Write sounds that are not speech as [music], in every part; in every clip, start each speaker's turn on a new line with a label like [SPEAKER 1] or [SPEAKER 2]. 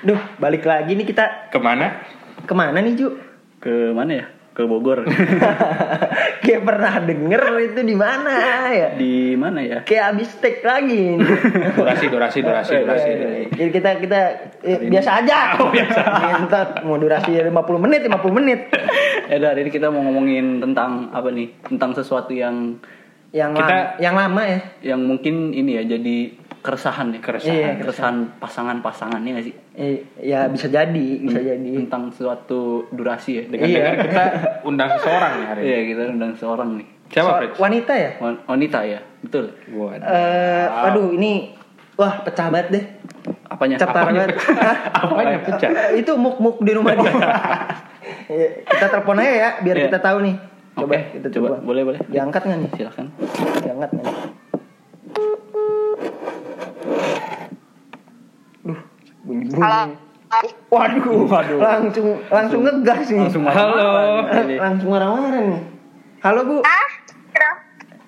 [SPEAKER 1] Duh, balik lagi nih kita
[SPEAKER 2] Kemana?
[SPEAKER 1] kemana nih
[SPEAKER 2] [laughs]
[SPEAKER 1] Ju?
[SPEAKER 3] Ke mana ya? Ke Bogor.
[SPEAKER 1] Kayak pernah denger itu di mana ya?
[SPEAKER 3] Di mana ya?
[SPEAKER 1] Kayak abis take lagi. nih.
[SPEAKER 2] Durasi, durasi,
[SPEAKER 1] Eh,
[SPEAKER 2] durasi,
[SPEAKER 1] iya,
[SPEAKER 2] durasi. Oh,
[SPEAKER 1] Jadi kita kita eh, biasa
[SPEAKER 2] [laughs]
[SPEAKER 1] aja. Ntar mau durasi 50 menit, 50 menit.
[SPEAKER 3] Eh, dari ini kita mau ngomongin tentang apa nih? Tentang sesuatu yang
[SPEAKER 1] Yang
[SPEAKER 2] Kita-
[SPEAKER 1] lama, yang lama ya.
[SPEAKER 3] yang mungkin ini ya jadi keresahan ya keresahan
[SPEAKER 1] Iya,
[SPEAKER 3] keresahan pasangan-pasangan ya nggak sih
[SPEAKER 1] Eh, ya bisa jadi, bisa
[SPEAKER 2] Hmm.
[SPEAKER 1] jadi.
[SPEAKER 3] tentang suatu durasi ya
[SPEAKER 2] Dengan
[SPEAKER 1] Iya.
[SPEAKER 2] Kan dengar kita undang seseorang nih hari ini.
[SPEAKER 3] iya kita undang seorang nih
[SPEAKER 2] Siapa,
[SPEAKER 1] Soal
[SPEAKER 2] Fritz?
[SPEAKER 1] wanita ya?
[SPEAKER 3] Wan- wanita ya betul
[SPEAKER 1] Eh,
[SPEAKER 2] Waduh. Ah.
[SPEAKER 1] aduh ini wah pecah banget deh.
[SPEAKER 3] apanya
[SPEAKER 1] Cetar
[SPEAKER 3] Apanya?
[SPEAKER 1] banget.
[SPEAKER 3] [laughs]
[SPEAKER 2] Apanya pecah?
[SPEAKER 1] Eh, itu muk-muk di rumah dia. [laughs] Iya, kita telepon aja ya biar
[SPEAKER 3] Oh. Iya.
[SPEAKER 1] kita tahu nih. Coba
[SPEAKER 3] Oke,
[SPEAKER 1] kita
[SPEAKER 3] coba.
[SPEAKER 1] coba.
[SPEAKER 3] Boleh, boleh.
[SPEAKER 1] Diangkat nggak nih?
[SPEAKER 3] silakan
[SPEAKER 1] Diangkat nggak nih? Duh, bunyi bunyi. Waduh,
[SPEAKER 3] Waduh.
[SPEAKER 1] Langsung langsung ngegas nih.
[SPEAKER 3] langsung
[SPEAKER 2] Halo.
[SPEAKER 1] [laughs]
[SPEAKER 3] marah-marah nih.
[SPEAKER 1] langsung marah-marah nih. Halo, Bu.
[SPEAKER 4] Ah, kenapa?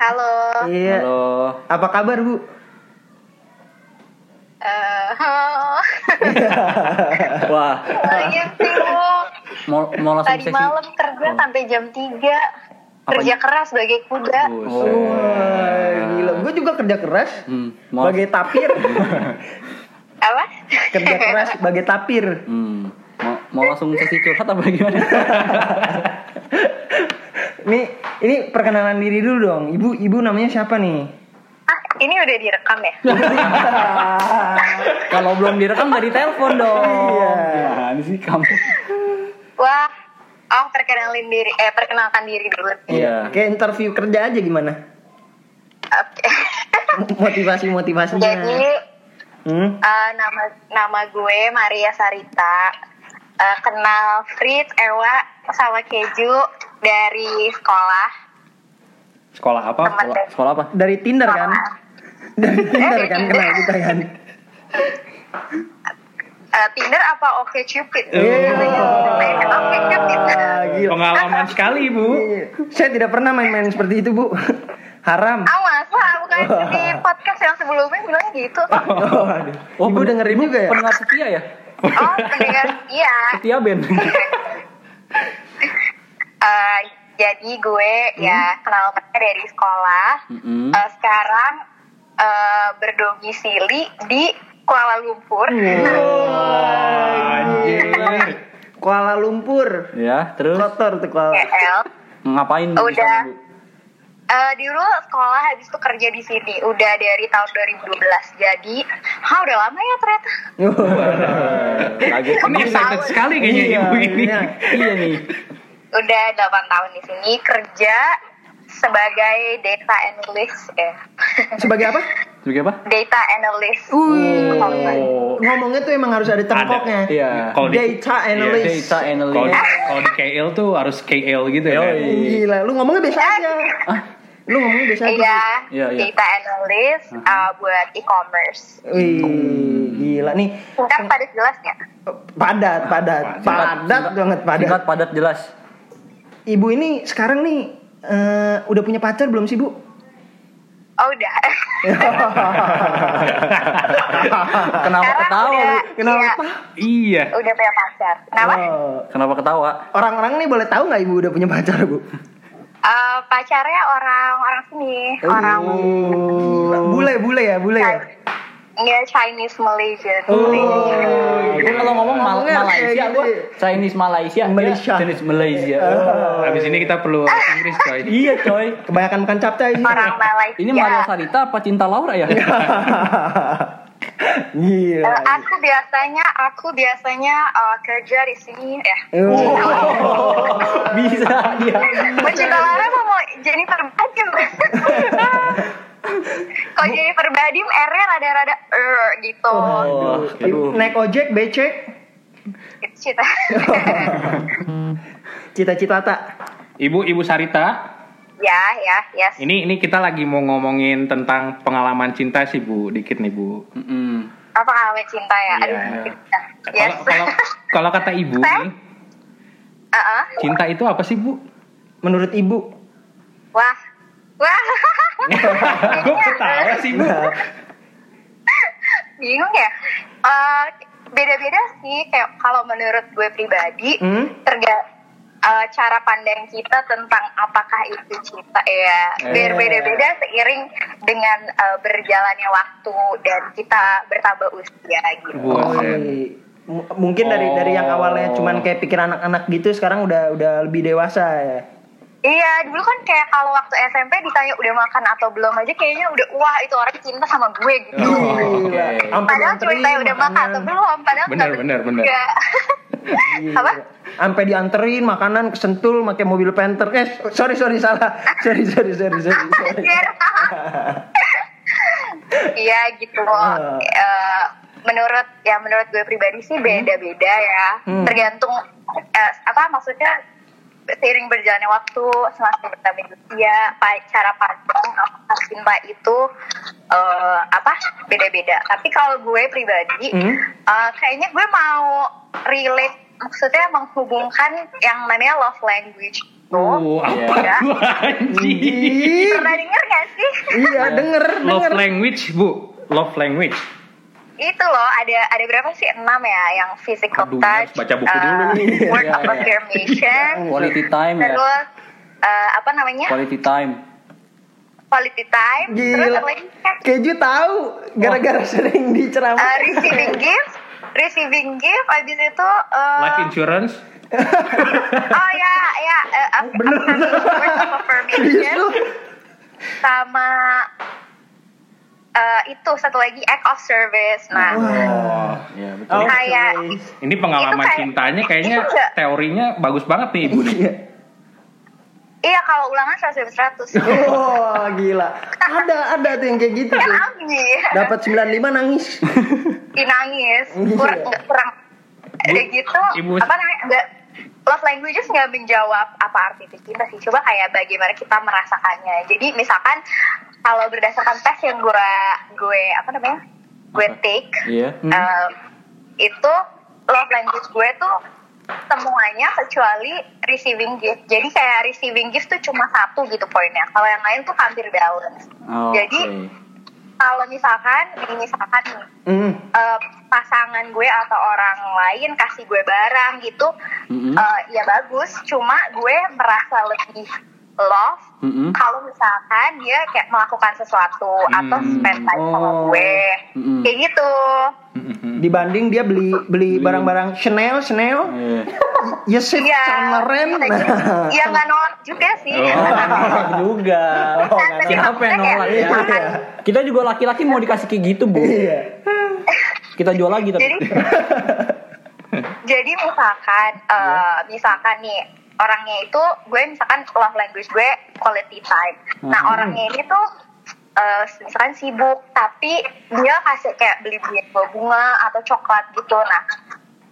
[SPEAKER 4] Halo.
[SPEAKER 1] Iya.
[SPEAKER 3] halo
[SPEAKER 1] Apa kabar, Bu?
[SPEAKER 4] Eh, [laughs] halo.
[SPEAKER 3] wah
[SPEAKER 4] Lagi sibuk.
[SPEAKER 3] mau mau langsung
[SPEAKER 4] Iya Tadi
[SPEAKER 3] sesi
[SPEAKER 4] malam kerja sampai jam 3. Kerja keras sebagai kuda.
[SPEAKER 3] Buset.
[SPEAKER 1] Oh. Wah, gila. Gue juga kerja keras.
[SPEAKER 3] Hmm, mau-
[SPEAKER 1] Sebagai
[SPEAKER 3] [laughs]
[SPEAKER 1] tapir.
[SPEAKER 4] Apa? [laughs]
[SPEAKER 1] kerja keras sebagai tapir.
[SPEAKER 3] Hmm, mau mau langsung sesi curhat apa
[SPEAKER 1] [laughs]
[SPEAKER 3] gimana
[SPEAKER 1] Ini ini perkenalan diri dulu dong. Ibu ibu namanya siapa nih?
[SPEAKER 4] ah, ini udah direkam ya?
[SPEAKER 3] kalau belum direkam nggak ditelepon dong iya sih kamu
[SPEAKER 4] Wah. Oh, perkenalin diri. Eh, perkenalkan diri dulu. Oke.
[SPEAKER 3] Iya.
[SPEAKER 1] Kayak interview kerja aja gimana? Motivasi motivasinya.
[SPEAKER 4] Jadi,
[SPEAKER 1] Hmm?
[SPEAKER 4] eh, nama nama gue Maria Sarita. Eh, kenal Fritz, Ewa, sama Keju dari sekolah.
[SPEAKER 2] Sekolah apa?
[SPEAKER 4] Teman
[SPEAKER 2] Sekolah-
[SPEAKER 4] dari-
[SPEAKER 3] sekolah apa
[SPEAKER 1] Dari Tinder kan? Dari Tinder kan kenal kita kan?
[SPEAKER 4] Eh, Tinder apa Oke Cupid?
[SPEAKER 1] Iya.
[SPEAKER 4] Oke [laughs] Cupid.
[SPEAKER 1] Wah, gila.
[SPEAKER 2] Pengalaman sekali, Bu.
[SPEAKER 1] Saya tidak pernah main-main seperti itu bu. Haram.
[SPEAKER 4] Ah masa bukan di podcast yang sebelumnya bilang gitu Oh
[SPEAKER 1] Oh, aduh. ibu
[SPEAKER 3] pen-
[SPEAKER 1] dengerin
[SPEAKER 3] ibu
[SPEAKER 1] juga ya?
[SPEAKER 3] Pendengar setia ya?
[SPEAKER 4] pendengar Oh, iya
[SPEAKER 3] Setia
[SPEAKER 1] [laughs]
[SPEAKER 3] Ben.
[SPEAKER 4] Eh, Jadi gue ya kenal mereka dari sekolah
[SPEAKER 3] Mm-mm.
[SPEAKER 4] Eh, Sekarang eh, berdomisili di Kuala Lumpur
[SPEAKER 2] Anjir.
[SPEAKER 1] Kuala Lumpur.
[SPEAKER 3] ya, terus
[SPEAKER 1] Kotor tuh Kuala.
[SPEAKER 4] KL
[SPEAKER 3] ngapain Bu, di
[SPEAKER 4] Oh, Udah.
[SPEAKER 3] sana, Bu?
[SPEAKER 4] Eh, dulu sekolah habis itu kerja di sini udah dari tahun 2012 jadi ha udah lama ya ternyata
[SPEAKER 3] Eh, Kaget.
[SPEAKER 2] Ini excited sekali kayaknya ibu ini.
[SPEAKER 1] iya.
[SPEAKER 3] iya nih.
[SPEAKER 4] udah 8 tahun di sini kerja sebagai data analyst ya
[SPEAKER 1] Sebagai apa?
[SPEAKER 3] Sebagai apa?
[SPEAKER 4] [laughs] data analyst
[SPEAKER 1] Wih.
[SPEAKER 3] Oh.
[SPEAKER 1] Ngomongnya tuh emang harus ada tengkoknya.
[SPEAKER 3] Iya.
[SPEAKER 2] Kalau di-
[SPEAKER 1] Data analyst.
[SPEAKER 2] Iya,
[SPEAKER 3] Data analyst.
[SPEAKER 2] Kalau di, kalau di KL tuh harus KL gitu ya. kan?
[SPEAKER 3] Yoi.
[SPEAKER 1] Gila, lu ngomongnya biasa aja.
[SPEAKER 3] Ah,
[SPEAKER 1] Lu ngomongnya biasa aja.
[SPEAKER 4] Iya,
[SPEAKER 3] Iya, iya.
[SPEAKER 4] data analyst uh, buat e-commerce.
[SPEAKER 1] Wih, gila nih.
[SPEAKER 4] Singkat pada jelasnya.
[SPEAKER 1] Padat, padat, padat, banget padat.
[SPEAKER 3] Singkat, padat,
[SPEAKER 1] [laughs]
[SPEAKER 3] jelas.
[SPEAKER 1] Ibu ini sekarang nih eh, udah punya pacar belum sih, Bu?
[SPEAKER 4] Oh udah.
[SPEAKER 3] [laughs] Kenapa
[SPEAKER 4] Sekarang
[SPEAKER 3] ketawa? Bu?
[SPEAKER 4] udah- iya,
[SPEAKER 1] Kenapa?
[SPEAKER 2] Iya.
[SPEAKER 4] udah punya pacar. Kenapa?
[SPEAKER 1] Oh.
[SPEAKER 3] Kenapa ketawa?
[SPEAKER 1] [laughs] Orang-orang nih boleh tahu nggak ibu udah punya pacar bu?
[SPEAKER 4] Eh, pacarnya orang-orang sini,
[SPEAKER 3] Oh.
[SPEAKER 4] orang
[SPEAKER 1] Bule, bule ya,
[SPEAKER 3] Iya.
[SPEAKER 1] bule ya. Oh.
[SPEAKER 4] ya Chinese Malaysian.
[SPEAKER 3] Oh. Gue kalau ngomong Mal-
[SPEAKER 1] Ngomongnya kayak
[SPEAKER 3] Malaysia,
[SPEAKER 1] gitu
[SPEAKER 3] gue
[SPEAKER 1] ya.
[SPEAKER 3] Chinese Malaysia, dia
[SPEAKER 1] Malaysia.
[SPEAKER 3] Chinese
[SPEAKER 1] [laughs]
[SPEAKER 3] Malaysia.
[SPEAKER 2] Habis ini kita perlu Inggris coy.
[SPEAKER 3] Iya coy.
[SPEAKER 1] Kebanyakan makan capcay sih.
[SPEAKER 4] Orang Malaysia.
[SPEAKER 3] Ini Maria Sarita apa Cinta Laura
[SPEAKER 1] [laughs]
[SPEAKER 3] ya?
[SPEAKER 4] Eh,
[SPEAKER 1] Gila.
[SPEAKER 4] aku biasanya aku biasanya eh, kerja di sini ya.
[SPEAKER 3] Bisa dia.
[SPEAKER 4] Mencinta Lara mau mau Jennifer Badim Kalau Jennifer Badim R-nya rada-rada er gitu
[SPEAKER 3] Oh, aduh.
[SPEAKER 1] Ibu naik ojek, becek,
[SPEAKER 4] Gitu cita
[SPEAKER 1] [laughs] cita-cita tak.
[SPEAKER 2] Ibu Ibu Sarita,
[SPEAKER 4] [laughs] Ya ya yes
[SPEAKER 2] Ini ini kita lagi mau ngomongin tentang pengalaman cinta sih Bu, dikit nih Bu.
[SPEAKER 3] Mm-mm.
[SPEAKER 4] Apa kawin cinta ya? Aduh
[SPEAKER 2] Iya.
[SPEAKER 4] cinta. Yes
[SPEAKER 2] Kalau kalau kalau kata Ibu nih,
[SPEAKER 4] [laughs] Uh-uh.
[SPEAKER 2] cinta itu apa sih Bu?
[SPEAKER 1] Menurut ibu,
[SPEAKER 4] Wah [laughs] Wah
[SPEAKER 2] [laughs] Iya.
[SPEAKER 1] Nah,
[SPEAKER 2] Gue ketawa sih Bu.
[SPEAKER 4] bingung ya. Eh, beda-beda sih kayak kalau menurut gue pribadi
[SPEAKER 1] Hmm?
[SPEAKER 4] terga eh, cara pandang kita tentang apakah itu cinta ya berbeda-beda seiring dengan eh, berjalannya waktu dan kita bertambah usia gitu.
[SPEAKER 2] Buset.
[SPEAKER 1] Oi. M- mungkin dari dari yang
[SPEAKER 2] Oh.
[SPEAKER 1] awalnya cuman kayak pikir anak-anak gitu sekarang udah udah lebih dewasa ya.
[SPEAKER 4] Iya, dulu kan kayak kalau waktu SMP ditanya udah makan atau belum aja kayaknya udah wah itu orang cinta sama gue gitu.
[SPEAKER 2] Oh, oke.
[SPEAKER 1] Sampai
[SPEAKER 4] Padahal cuma
[SPEAKER 1] dianterin Iya.
[SPEAKER 4] ditanya udah makan atau
[SPEAKER 1] makanan.
[SPEAKER 4] belum, padahal
[SPEAKER 2] Bener,
[SPEAKER 4] nggak
[SPEAKER 2] bener, bener.
[SPEAKER 4] juga.
[SPEAKER 1] Iya.
[SPEAKER 4] Apa?
[SPEAKER 1] Sampai dianterin makanan kesentul pakai mobil Panther. Eh, sorry sorry salah. Sorry sorry sorry sorry. sorry.
[SPEAKER 4] Anjir. Iya gitu.
[SPEAKER 1] Ah.
[SPEAKER 4] Eh, menurut ya menurut gue pribadi sih beda-beda ya.
[SPEAKER 1] Hmm.
[SPEAKER 4] Tergantung eh, apa maksudnya seiring berjalannya waktu semakin bertambah usia pa- cara pandang apakah cinta itu eh, apa beda-beda tapi kalau gue pribadi
[SPEAKER 1] Hmm.
[SPEAKER 4] eh, kayaknya gue mau relate maksudnya menghubungkan yang namanya love language itu
[SPEAKER 2] Oh, apa
[SPEAKER 4] Iya.
[SPEAKER 2] tuh anjing?
[SPEAKER 1] Ih,
[SPEAKER 4] pernah denger gak sih [laughs]
[SPEAKER 1] iya denger
[SPEAKER 2] Love
[SPEAKER 1] denger.
[SPEAKER 2] language, Bu. Love language.
[SPEAKER 4] itu loh ada ada berapa sih enam ya yang physical
[SPEAKER 2] Aduh,
[SPEAKER 1] ya,
[SPEAKER 4] touch
[SPEAKER 2] harus baca buku dulu
[SPEAKER 4] [laughs] uh,
[SPEAKER 1] nih.
[SPEAKER 4] word
[SPEAKER 1] Iya,
[SPEAKER 4] of
[SPEAKER 1] iya.
[SPEAKER 4] affirmation
[SPEAKER 3] Quality time ya.
[SPEAKER 4] terus uh, apa namanya
[SPEAKER 3] Quality time.
[SPEAKER 4] quality time terus
[SPEAKER 1] Gila.
[SPEAKER 4] apa lagi
[SPEAKER 1] Keju tahu gara-gara sering
[SPEAKER 4] Uh,
[SPEAKER 1] diceramah.
[SPEAKER 4] receiving gift receiving gift abis itu uh,
[SPEAKER 2] Life insurance.
[SPEAKER 4] oh ya ya uh, aff-
[SPEAKER 1] [laughs] Bener.
[SPEAKER 4] affirmation, word of
[SPEAKER 1] Serius
[SPEAKER 4] affirmation
[SPEAKER 1] lu?
[SPEAKER 4] sama uh, itu satu lagi act of service nah
[SPEAKER 2] Oh, iya betul.
[SPEAKER 1] Oke.
[SPEAKER 4] Kayak-
[SPEAKER 2] Ini pengalaman
[SPEAKER 4] Itu kayak-
[SPEAKER 2] cintanya kayaknya
[SPEAKER 4] itu enggak-
[SPEAKER 2] teorinya bagus banget nih Ibu nih.
[SPEAKER 1] Iya.
[SPEAKER 4] iya kalau ulangan
[SPEAKER 1] [laughs]
[SPEAKER 4] 100 seratus
[SPEAKER 1] Oh, gila. Ada ada tuh yang kayak gitu
[SPEAKER 4] ya
[SPEAKER 1] tuh.
[SPEAKER 4] amin
[SPEAKER 1] Dapat 95 nangis.
[SPEAKER 4] dinangis
[SPEAKER 1] Iya.
[SPEAKER 4] kurang nggak kurang udah gitu
[SPEAKER 2] Ibu-
[SPEAKER 4] apa namanya nggak love languages nggak menjawab apa arti cinta sih coba kayak bagaimana kita merasakannya jadi misalkan kalau berdasarkan tes yang gue gue apa namanya gue take
[SPEAKER 3] Iya.
[SPEAKER 4] um, itu love language gue tuh semuanya kecuali receiving gift jadi kayak receiving gift tuh cuma satu gitu poinnya kalau yang lain tuh hampir balance
[SPEAKER 3] Oh,
[SPEAKER 4] jadi kalau misalkan nih, misalkan nih
[SPEAKER 1] Hmm.
[SPEAKER 4] eh, pasangan gue atau orang lain kasih gue barang gitu
[SPEAKER 3] Mm-mm.
[SPEAKER 4] eh, ya bagus cuma gue merasa lebih love
[SPEAKER 3] Mm-mm.
[SPEAKER 4] kalau misalkan dia kayak melakukan sesuatu atau spend time sama
[SPEAKER 1] Oh.
[SPEAKER 4] gue
[SPEAKER 3] Mm-mm.
[SPEAKER 4] kayak gitu
[SPEAKER 1] Dibanding dia beli Hmm. beli barang-barang Chanel, Chanel,
[SPEAKER 3] Iya.
[SPEAKER 1] Yesit
[SPEAKER 4] iya
[SPEAKER 1] sama Ren.
[SPEAKER 4] bisa
[SPEAKER 1] Nah.
[SPEAKER 4] gitu.
[SPEAKER 1] [laughs]
[SPEAKER 4] iya nggak nolak juga sih Nah,
[SPEAKER 1] Oh, juga. Oh, nggak
[SPEAKER 4] Tapi
[SPEAKER 1] ada.
[SPEAKER 3] Siapa yang
[SPEAKER 4] maksudnya
[SPEAKER 3] nolak
[SPEAKER 4] kayak
[SPEAKER 3] ya?
[SPEAKER 4] misalkan-
[SPEAKER 3] Kita juga laki-laki mau dikasih kayak gitu, Bu.
[SPEAKER 1] Iya.
[SPEAKER 3] Kita jual lagi tapi.
[SPEAKER 4] jadi [laughs] jadi misalkan eh, misalkan nih orangnya itu gue misalkan love language gue quality time nah orangnya ini tuh eh, misalkan sibuk tapi dia kasih kayak beli beli bunga atau coklat gitu nah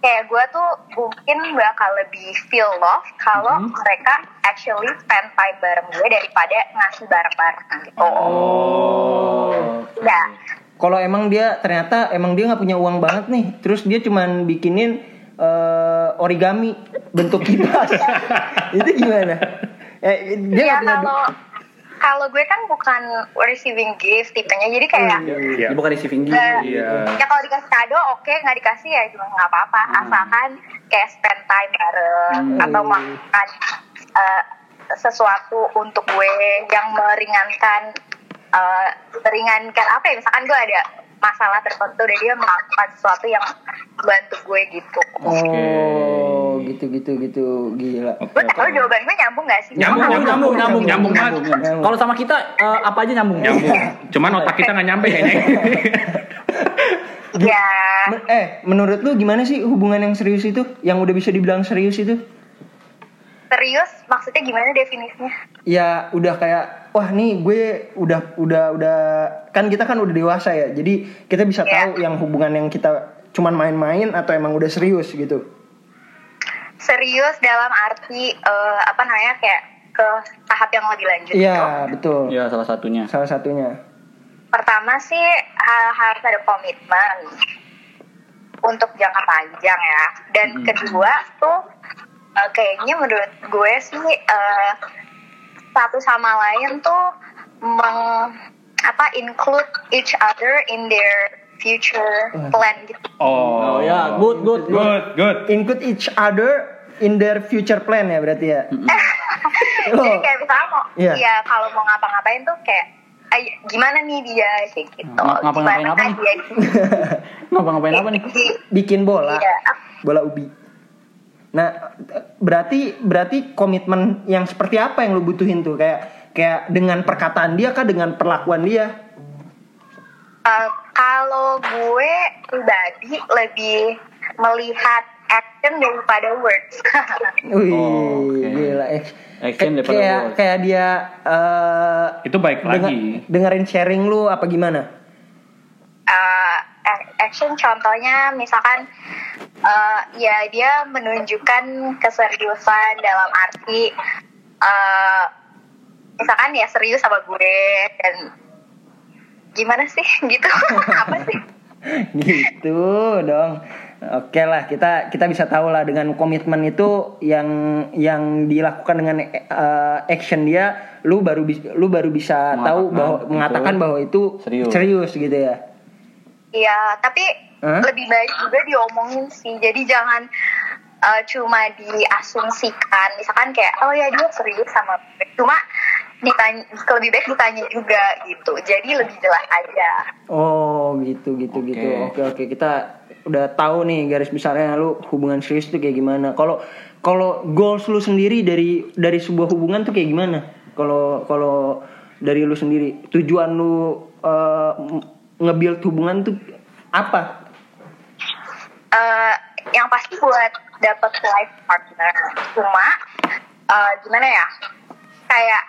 [SPEAKER 4] kayak gue tuh mungkin bakal lebih feel love kalau mereka actually spend time bareng gue daripada ngasih bareng-bareng gitu.
[SPEAKER 3] Oh.
[SPEAKER 4] Ya,
[SPEAKER 1] Kalau emang dia ternyata emang dia nggak punya uang banget nih, terus dia cuman bikinin eh, origami bentuk kipas. [laughs] Itu gimana? Eh, dia
[SPEAKER 4] ya
[SPEAKER 1] nggak punya du-
[SPEAKER 4] Iya. kalau kalau gue kan bukan receiving gift tipenya, jadi kayak
[SPEAKER 2] Iya.
[SPEAKER 3] Ini bukan receiving gitu.
[SPEAKER 4] eh,
[SPEAKER 2] Iya.
[SPEAKER 4] ya kalau dikasih kado oke, nggak dikasih ya juga nggak apa-apa,
[SPEAKER 2] Hmm.
[SPEAKER 4] asalkan kayak spend time bareng atau makan eh, sesuatu untuk gue yang meringankan eh, meringankan apa ya? Misalkan gue ada masalah tertentu dan dia melakukan sesuatu yang bantu gue gitu.
[SPEAKER 1] Oh, gitu gitu gitu gila.
[SPEAKER 4] Gue tahu jawaban gue nyambung gak sih?
[SPEAKER 2] Nyambung,
[SPEAKER 4] Cuma kalau-
[SPEAKER 3] nyambung, nyambung,
[SPEAKER 2] Nyambung,
[SPEAKER 3] nyambung.
[SPEAKER 2] Mas.
[SPEAKER 3] nyambung. Kalau sama kita eh, apa aja nyambung.
[SPEAKER 2] Nyambung. Ya, Cuman otak kita nggak nyampe [laughs] kayaknya.
[SPEAKER 4] Ya.
[SPEAKER 1] Men- eh, menurut lu gimana sih hubungan yang serius itu? Yang udah bisa dibilang serius itu?
[SPEAKER 4] Serius, maksudnya gimana definisinya?
[SPEAKER 1] ya udah kayak wah nih gue udah udah udah kan kita kan udah dewasa ya jadi kita bisa
[SPEAKER 4] Iya.
[SPEAKER 1] tahu yang hubungan yang kita cuman main-main atau emang udah serius gitu
[SPEAKER 4] Serius dalam arti eh, apa namanya kayak ke tahap yang lebih lanjut. gitu.
[SPEAKER 1] iya betul
[SPEAKER 3] Ya salah satunya.
[SPEAKER 1] salah satunya
[SPEAKER 4] Pertama sih ha- harus ada komitmen untuk jangka panjang ya. Dan kedua tuh eh, kayaknya menurut gue sih eh, satu sama lain tuh meng apa include each other in their future plan gitu.
[SPEAKER 1] Oh
[SPEAKER 2] Oh,
[SPEAKER 1] ya, good, good, good.
[SPEAKER 2] Good, good.
[SPEAKER 1] Include each other in their future plan ya berarti ya.
[SPEAKER 4] [laughs] Jadi
[SPEAKER 3] Oh.
[SPEAKER 4] kayak misalnya mau,
[SPEAKER 1] Iya.
[SPEAKER 4] ya kalau mau ngapa-ngapain tuh kayak, "Ay, gimana nih dia kayak gitu.
[SPEAKER 3] Ngapa- Hmm, ngapa-ngapain
[SPEAKER 4] Gimana ya?
[SPEAKER 3] apa nih?
[SPEAKER 4] dia [laughs]
[SPEAKER 3] Ngapa-ngapain apa nih?
[SPEAKER 4] di-
[SPEAKER 1] bikin bola
[SPEAKER 4] Iya.
[SPEAKER 1] bola ubi nah berarti berarti komitmen yang seperti apa yang lu butuhin tuh kayak kayak dengan perkataan dia kah dengan perlakuan dia
[SPEAKER 4] Eh, kalau gue pribadi lebih melihat action daripada words. [laughs]
[SPEAKER 1] Wih,
[SPEAKER 3] Oh, oke.
[SPEAKER 1] gila eh. Kay-
[SPEAKER 3] Action daripada
[SPEAKER 1] kayak
[SPEAKER 3] words.
[SPEAKER 1] kayak dia eh,
[SPEAKER 2] Itu baik
[SPEAKER 1] dengar-
[SPEAKER 2] lagi.
[SPEAKER 1] dengerin sharing lu apa gimana
[SPEAKER 4] Eh, a- action contohnya misalkan eh, ya dia menunjukkan keseriusan dalam arti eh, misalkan ya serius sama gue dan gimana sih [laughs] gitu apa sih?
[SPEAKER 1] [laughs] gitu dong Oke lah kita kita bisa tahu lah dengan komitmen itu yang yang dilakukan dengan eh, action dia lu baru bis- lu baru bisa tahu
[SPEAKER 3] Mengatakan
[SPEAKER 1] bahwa
[SPEAKER 3] itu
[SPEAKER 1] mengatakan bahwa itu
[SPEAKER 3] serius.
[SPEAKER 1] gitu ya.
[SPEAKER 4] Iya, tapi
[SPEAKER 1] Hah?
[SPEAKER 4] lebih baik juga diomongin sih. Jadi jangan eh, cuma diasumsikan. Misalkan kayak, oh ya dia serius sama gue. Cuma ditanya, lebih baik ditanya juga gitu. Jadi lebih jelas aja.
[SPEAKER 1] Oh gitu gitu gitu. Oke oke kita udah tahu nih garis besarnya lu hubungan serius tuh kayak gimana. Kalau kalau goals lu sendiri dari dari sebuah hubungan tuh kayak gimana? Kalau kalau dari lu sendiri tujuan lu eh, m- nge-build hubungan tuh apa?
[SPEAKER 4] Eh, yang pasti buat dapet life partner. Cuma eh, gimana ya? Kayak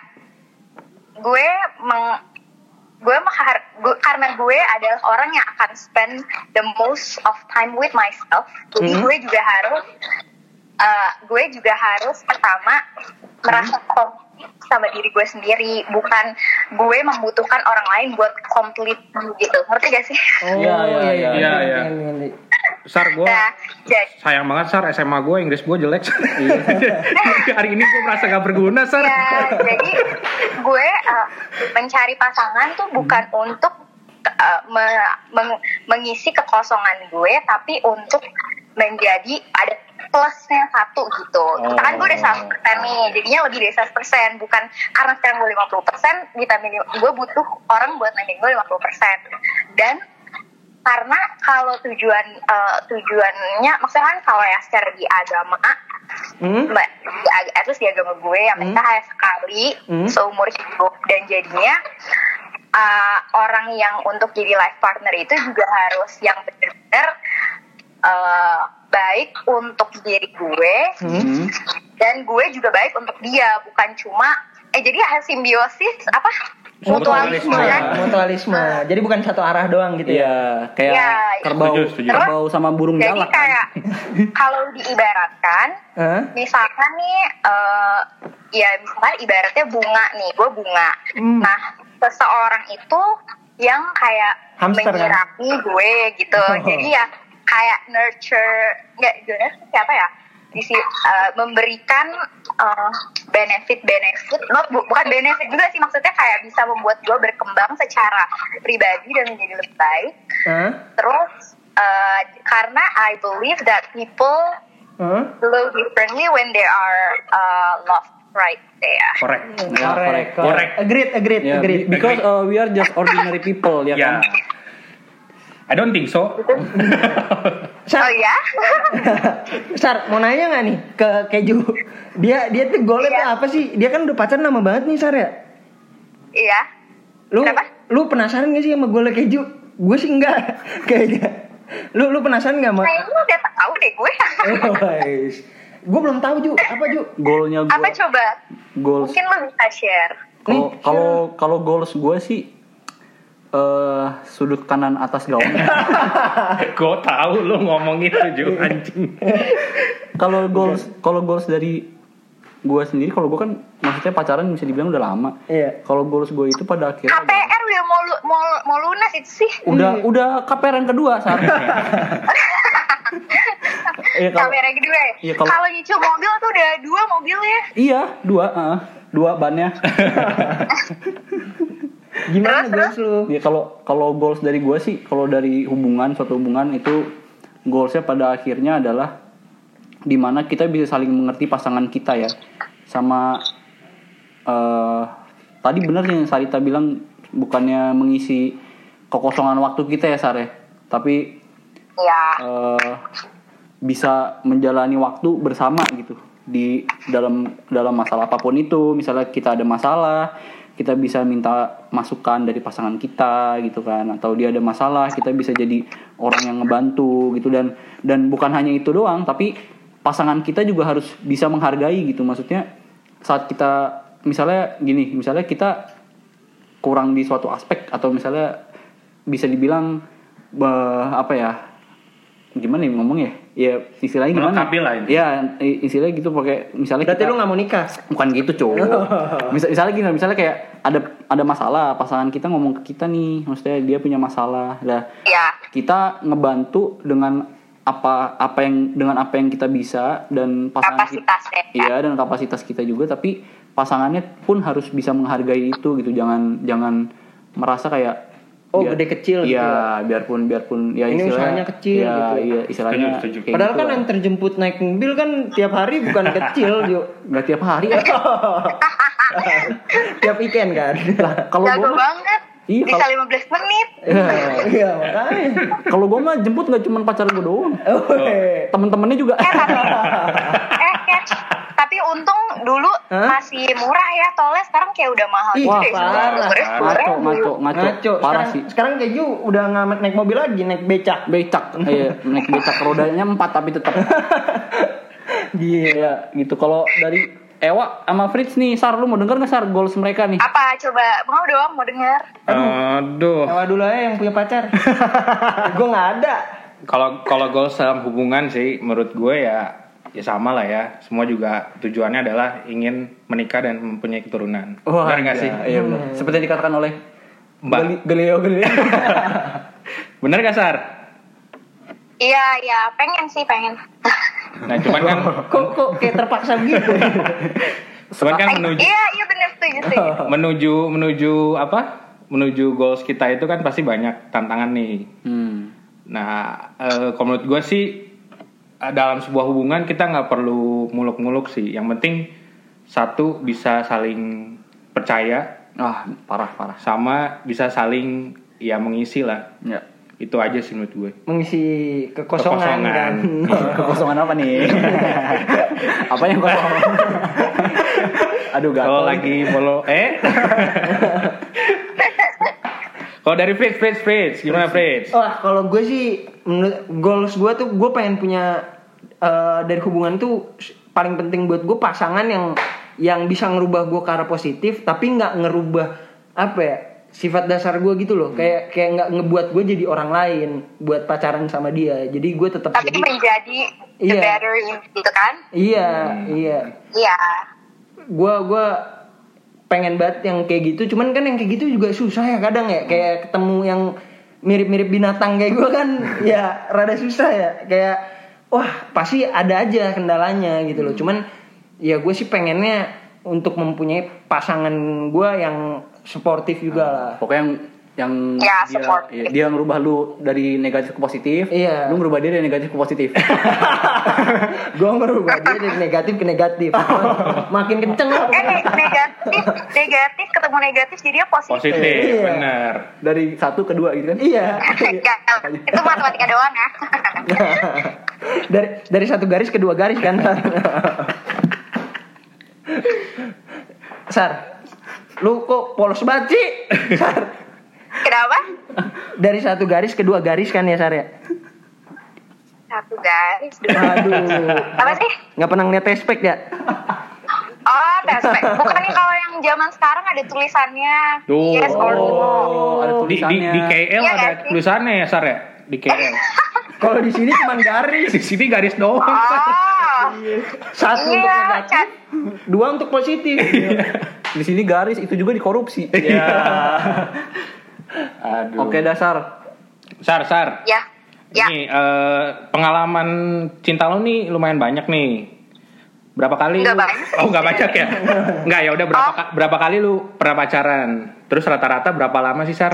[SPEAKER 4] gue meng gue menghar- gue- karena gue adalah orang yang akan spend the most of time with myself. Jadi
[SPEAKER 1] Mhm.
[SPEAKER 4] gue juga harus eh, gue juga harus pertama merasa komplit sama diri gue sendiri, bukan gue membutuhkan orang lain buat complete gitu. Ngerti gak sih?
[SPEAKER 1] Oh
[SPEAKER 3] Iya, iya, iya.
[SPEAKER 2] Iya, iya. Sar gue
[SPEAKER 4] Nah, jadi
[SPEAKER 2] sayang banget Sar SMA gue Inggris gue jelek. Sar. [laughs] Hari ini gue merasa gak berguna Sar.
[SPEAKER 4] Ya, jadi gue eh, mencari pasangan tuh bukan untuk eh, me- meng- mengisi kekosongan gue, tapi untuk menjadi ada plusnya satu gitu.
[SPEAKER 2] Oh.
[SPEAKER 4] Misalkan gue udah 100% nih, jadinya lebih dari 100%. Bukan karena sekarang gue 50%, ditambah lim- gue butuh orang buat nanding gue 50%. Dan karena kalau tujuan eh, tujuannya maksudnya kan kalau ya secara di agama
[SPEAKER 1] Hmm?
[SPEAKER 4] Mbak, di ag- ya, at least di agama gue yang
[SPEAKER 1] Hmm.
[SPEAKER 4] menikah hanya sekali
[SPEAKER 1] Hmm.
[SPEAKER 4] seumur hidup dan jadinya uh, orang yang untuk jadi life partner itu juga harus yang benar-benar uh, baik untuk diri gue
[SPEAKER 3] Hmm.
[SPEAKER 4] dan gue juga baik untuk dia bukan cuma eh jadi hasil simbiosis apa
[SPEAKER 2] Mutualisme.
[SPEAKER 4] mutualisme kan
[SPEAKER 1] Iya, Mutualisme. Jadi bukan satu arah doang gitu ya.
[SPEAKER 3] Iya, kayak
[SPEAKER 4] Iya, iya.
[SPEAKER 3] kerbau,
[SPEAKER 2] Setuju, setuju.
[SPEAKER 3] kerbau sama burung
[SPEAKER 4] jadi
[SPEAKER 3] galak. kan?
[SPEAKER 4] kayak kalau diibaratkan
[SPEAKER 1] Hah?
[SPEAKER 4] misalkan nih eh, ya misalkan ibaratnya bunga nih gue bunga
[SPEAKER 1] Hmm.
[SPEAKER 4] nah seseorang itu yang kayak
[SPEAKER 1] Hamster, kan?
[SPEAKER 4] menyirami gue gitu
[SPEAKER 1] [laughs] Oh.
[SPEAKER 4] jadi ya kayak nurture nggak gimana sih siapa ya Disi, eh, memberikan eh, benefit-benefit, not bu- bukan benefit juga sih maksudnya kayak bisa membuat gue berkembang secara pribadi dan menjadi lebih baik.
[SPEAKER 1] Hah?
[SPEAKER 4] Terus eh, karena I believe that people
[SPEAKER 1] Hah?
[SPEAKER 4] look differently when they are uh, loved right there.
[SPEAKER 2] Korek.
[SPEAKER 3] Ya, korek.
[SPEAKER 1] Korek, korek. Agreed, agreed,
[SPEAKER 3] Ya,
[SPEAKER 1] agreed.
[SPEAKER 3] be- because uh, we are just ordinary people ya
[SPEAKER 2] Ya.
[SPEAKER 3] kan.
[SPEAKER 2] I don't think so.
[SPEAKER 1] Sar,
[SPEAKER 4] Oh ya? [laughs]
[SPEAKER 1] [laughs] Sar, mau nanya nggak nih ke keju? Dia dia tuh golnya tuh
[SPEAKER 4] Iya.
[SPEAKER 1] apa sih? Dia kan udah pacaran lama banget nih Sar ya.
[SPEAKER 4] Iya.
[SPEAKER 1] Lu
[SPEAKER 4] Kenapa?
[SPEAKER 1] lu penasaran gak sih sama golnya keju? Gue sih enggak [laughs] kayaknya. Lu lu penasaran gak sama? [laughs]
[SPEAKER 4] Kayaknya udah tahu deh gue.
[SPEAKER 3] Oh,
[SPEAKER 1] gue belum tahu Ju, apa Ju?
[SPEAKER 3] Goalnya gue,
[SPEAKER 4] [laughs] Apa coba?
[SPEAKER 3] goals
[SPEAKER 4] Mungkin lo bisa share.
[SPEAKER 3] Kalau kalau kalau goals gue sih eh sudut kanan atas
[SPEAKER 4] [laughs]
[SPEAKER 3] gaung.
[SPEAKER 2] gue tahu lu ngomong itu Ju anjing.
[SPEAKER 3] kalau goals
[SPEAKER 4] Iya.
[SPEAKER 3] kalau goals dari gue sendiri kalau gue kan maksudnya pacaran bisa dibilang udah lama.
[SPEAKER 1] Iya.
[SPEAKER 3] Kalau goals gue itu pada akhirnya adalah-
[SPEAKER 4] KPR udah ya, mau, lu- mau, mau lunas itu sih.
[SPEAKER 3] udah udah kaperan kedua Sar.
[SPEAKER 4] [laughs]
[SPEAKER 3] Iya, kalau-
[SPEAKER 4] KPR yang kedua ya?
[SPEAKER 3] Iya, kalau-
[SPEAKER 4] Kalau nyicil mobil tuh udah dua mobilnya.
[SPEAKER 3] eh, Iya, dua, ah, dua bannya.
[SPEAKER 1] [laughs] Gimana
[SPEAKER 4] Terus,
[SPEAKER 1] goals lu?
[SPEAKER 3] Ya kalau kalau goals dari gue sih, kalau dari hubungan suatu hubungan itu goalsnya pada akhirnya adalah dimana kita bisa saling mengerti pasangan kita ya, sama eh tadi bener yang Sarita bilang bukannya mengisi kekosongan waktu kita ya Sare, tapi
[SPEAKER 4] ya
[SPEAKER 3] eh, bisa menjalani waktu bersama gitu di dalam dalam masalah apapun itu misalnya kita ada masalah kita bisa minta masukan dari pasangan kita gitu kan atau dia ada masalah kita bisa jadi orang yang ngebantu gitu dan dan bukan hanya itu doang tapi pasangan kita juga harus bisa menghargai gitu maksudnya saat kita misalnya gini misalnya kita kurang di suatu aspek atau misalnya bisa dibilang eh, apa ya gimana ya ngomong ya ya istilahnya gimana
[SPEAKER 2] Melengkapi lah ini.
[SPEAKER 3] ya i- istilahnya gitu pakai misalnya
[SPEAKER 1] Berarti
[SPEAKER 3] kita-
[SPEAKER 1] lu nggak mau nikah?
[SPEAKER 3] bukan gitu
[SPEAKER 1] [laughs]
[SPEAKER 3] cowok Misal, misalnya gini misalnya kayak ada ada masalah pasangan kita ngomong ke kita nih maksudnya dia punya masalah lah
[SPEAKER 4] ya
[SPEAKER 3] kita ngebantu dengan apa apa yang dengan apa yang kita bisa dan pasangan kita
[SPEAKER 4] kapasitasnya
[SPEAKER 3] Iya dan kapasitas kita juga tapi pasangannya pun harus bisa menghargai itu gitu jangan jangan merasa kayak
[SPEAKER 1] Oh, gede kecil gitu
[SPEAKER 3] Iya biarpun biarpun ya
[SPEAKER 1] Ini usahanya
[SPEAKER 3] istilahnya-
[SPEAKER 1] kecil
[SPEAKER 3] iya,
[SPEAKER 1] gitu.
[SPEAKER 3] Iya istilahnya.
[SPEAKER 2] Setuju, setuju.
[SPEAKER 3] kayak
[SPEAKER 1] Padahal
[SPEAKER 3] gitu
[SPEAKER 1] kan
[SPEAKER 3] lah.
[SPEAKER 1] yang terjemput naik mobil kan tiap hari bukan
[SPEAKER 3] [laughs]
[SPEAKER 1] kecil, Jo.
[SPEAKER 3] nggak tiap
[SPEAKER 1] [laughs]
[SPEAKER 3] hari ya.
[SPEAKER 1] Tiap weekend kan.
[SPEAKER 3] Lah, kalau
[SPEAKER 4] jago
[SPEAKER 3] gue
[SPEAKER 4] banget
[SPEAKER 3] Iya,
[SPEAKER 4] bisa
[SPEAKER 3] kalau-
[SPEAKER 4] 15 menit
[SPEAKER 1] [laughs] Iya, makanya.
[SPEAKER 3] [laughs] kalau gue mah jemput nggak cuma pacar gue doang
[SPEAKER 1] Weh.
[SPEAKER 3] temen-temennya juga
[SPEAKER 4] eh tapi eh, eh, tapi untung dulu
[SPEAKER 1] Hah?
[SPEAKER 4] masih murah ya tolnya sekarang kayak udah mahal
[SPEAKER 1] Ih,
[SPEAKER 4] gitu
[SPEAKER 3] [laughs] Wah,
[SPEAKER 4] deh
[SPEAKER 1] parah.
[SPEAKER 3] ngaco ngaco ngaco,
[SPEAKER 1] Ngaco.
[SPEAKER 3] parah
[SPEAKER 1] Nah, Sekarang,
[SPEAKER 3] sih
[SPEAKER 1] sekarang keju udah nggak naik mobil lagi, naik becak.
[SPEAKER 3] becak iya naik becak rodanya empat tapi [laughs] tetap
[SPEAKER 1] Gila.
[SPEAKER 3] iya gitu kalau dari Ewa sama Fritz nih Sar lu mau denger nggak Sar goals mereka nih
[SPEAKER 4] apa coba mau doang mau dengar
[SPEAKER 2] Aduh.
[SPEAKER 1] Ewa dulu aja yang punya [laughs] pacar. gue nggak ada.
[SPEAKER 2] Kalau kalau goals dalam hubungan sih menurut gue ya ya sama lah ya. Semua juga tujuannya adalah ingin menikah dan mempunyai keturunan. Benar nggak sih?
[SPEAKER 3] Iya, benar. Seperti yang dikatakan oleh
[SPEAKER 2] Mbak.
[SPEAKER 3] Gali- Galileo
[SPEAKER 2] [laughs]
[SPEAKER 3] Galilei.
[SPEAKER 2] Benar nggak Sar?
[SPEAKER 4] iya iya pengen sih pengen
[SPEAKER 2] Nah cuman kan
[SPEAKER 1] Kok kok kayak terpaksa gitu.
[SPEAKER 2] cuman kan
[SPEAKER 4] Eh,
[SPEAKER 2] menuju Oh,
[SPEAKER 4] iya iya bener setuju setuju
[SPEAKER 2] menuju menuju apa? Menuju goals kita itu kan pasti banyak tantangan nih.
[SPEAKER 3] Hmm.
[SPEAKER 2] Nah, eh, kalau menurut gue sih eh, dalam sebuah hubungan kita nggak perlu muluk-muluk sih. Yang penting satu bisa saling percaya,
[SPEAKER 3] Ah, parah parah.
[SPEAKER 2] sama bisa saling ya mengisi lah.
[SPEAKER 3] Ya.
[SPEAKER 2] Itu aja sih menurut gue.
[SPEAKER 1] Mengisi kekosongan, kan.
[SPEAKER 3] Kekosongan apa [laughs] nih? apa yang kosong? [laughs] Aduh, gatel.
[SPEAKER 2] Kalau lagi follow eh [laughs] Kalau dari Fritz, Fritz, Fritz, gimana Fritz?
[SPEAKER 1] Wah, kalau gue sih menurut goals gue tuh gue pengen punya eh, dari hubungan tuh s- paling penting buat gue pasangan yang yang bisa ngerubah gue ke arah positif tapi nggak ngerubah apa ya sifat dasar gue gitu loh kayak kayak nggak ngebuat gue jadi orang lain buat pacaran sama dia jadi gue tetap
[SPEAKER 4] tapi
[SPEAKER 1] jadi
[SPEAKER 4] menjadi the
[SPEAKER 1] Iya.
[SPEAKER 4] better in, gitu kan
[SPEAKER 1] iya iya
[SPEAKER 4] iya
[SPEAKER 1] gue gua pengen banget yang kayak gitu cuman kan yang kayak gitu juga susah ya kadang ya kayak ketemu yang mirip-mirip binatang kayak gue
[SPEAKER 4] [laughs]
[SPEAKER 1] kan ya rada susah ya kayak wah pasti ada aja kendalanya gitu
[SPEAKER 4] Hmm.
[SPEAKER 1] loh cuman ya gue sih pengennya untuk mempunyai pasangan gue yang sportif juga
[SPEAKER 4] Ah.
[SPEAKER 1] lah
[SPEAKER 3] Pokoknya yang yang
[SPEAKER 4] Ya,
[SPEAKER 3] dia,
[SPEAKER 4] support.
[SPEAKER 3] iya, dia ngerubah lu dari negatif ke positif,
[SPEAKER 1] Iya.
[SPEAKER 3] lu ngerubah dia dari negatif ke [laughs] positif.
[SPEAKER 1] gue ngerubah dia dari negatif ke
[SPEAKER 4] [laughs]
[SPEAKER 1] negatif makin kenceng lah
[SPEAKER 4] eh ne- negatif negatif ketemu negatif jadi ya positif
[SPEAKER 2] Positif,
[SPEAKER 1] Iya.
[SPEAKER 2] bener.
[SPEAKER 3] dari satu ke dua gitu kan?
[SPEAKER 1] iya
[SPEAKER 4] Enggak, itu matematika doang ya [laughs]
[SPEAKER 1] [laughs] dari dari satu garis ke dua garis kan Sar lu kok polos banget sih [laughs] Sar
[SPEAKER 4] kenapa
[SPEAKER 1] dari satu garis ke dua garis kan ya Sar ya
[SPEAKER 4] satu guys
[SPEAKER 1] aduh
[SPEAKER 4] apa sih
[SPEAKER 1] nggak pernah ngeliat tespek ya
[SPEAKER 4] Oh, tespek. Bukan nih kalau yang zaman sekarang ada tulisannya
[SPEAKER 2] Tuh.
[SPEAKER 4] yes or no.
[SPEAKER 3] Oh, ada
[SPEAKER 2] Di, di, di
[SPEAKER 3] tulisannya.
[SPEAKER 2] KL
[SPEAKER 4] Iya
[SPEAKER 2] ada
[SPEAKER 4] nggak sih?
[SPEAKER 2] tulisannya ya Sar ya? Di KL.
[SPEAKER 1] [laughs] kalau di sini cuma garis
[SPEAKER 2] Di sini garis doang. Sar.
[SPEAKER 4] Oh,
[SPEAKER 1] satu untuk
[SPEAKER 4] Iya,
[SPEAKER 1] negatif
[SPEAKER 4] Chan.
[SPEAKER 1] dua untuk
[SPEAKER 2] [laughs]
[SPEAKER 1] positif
[SPEAKER 3] Di sini garis itu juga dikorupsi.
[SPEAKER 2] Iya. Aduh.
[SPEAKER 3] Oke, dasar.
[SPEAKER 2] Sar, Sar.
[SPEAKER 4] ya. Ya,
[SPEAKER 2] Nih, eh, pengalaman cinta lo nih lumayan banyak nih. Berapa kali? lu-
[SPEAKER 4] Nggak banyak.
[SPEAKER 2] Oh, nggak banyak
[SPEAKER 4] [laughs]
[SPEAKER 2] ya? Nggak ya udah berapa
[SPEAKER 4] Oh.
[SPEAKER 2] ka- berapa kali lu pernah pacaran? Terus rata-rata berapa lama sih, Sar?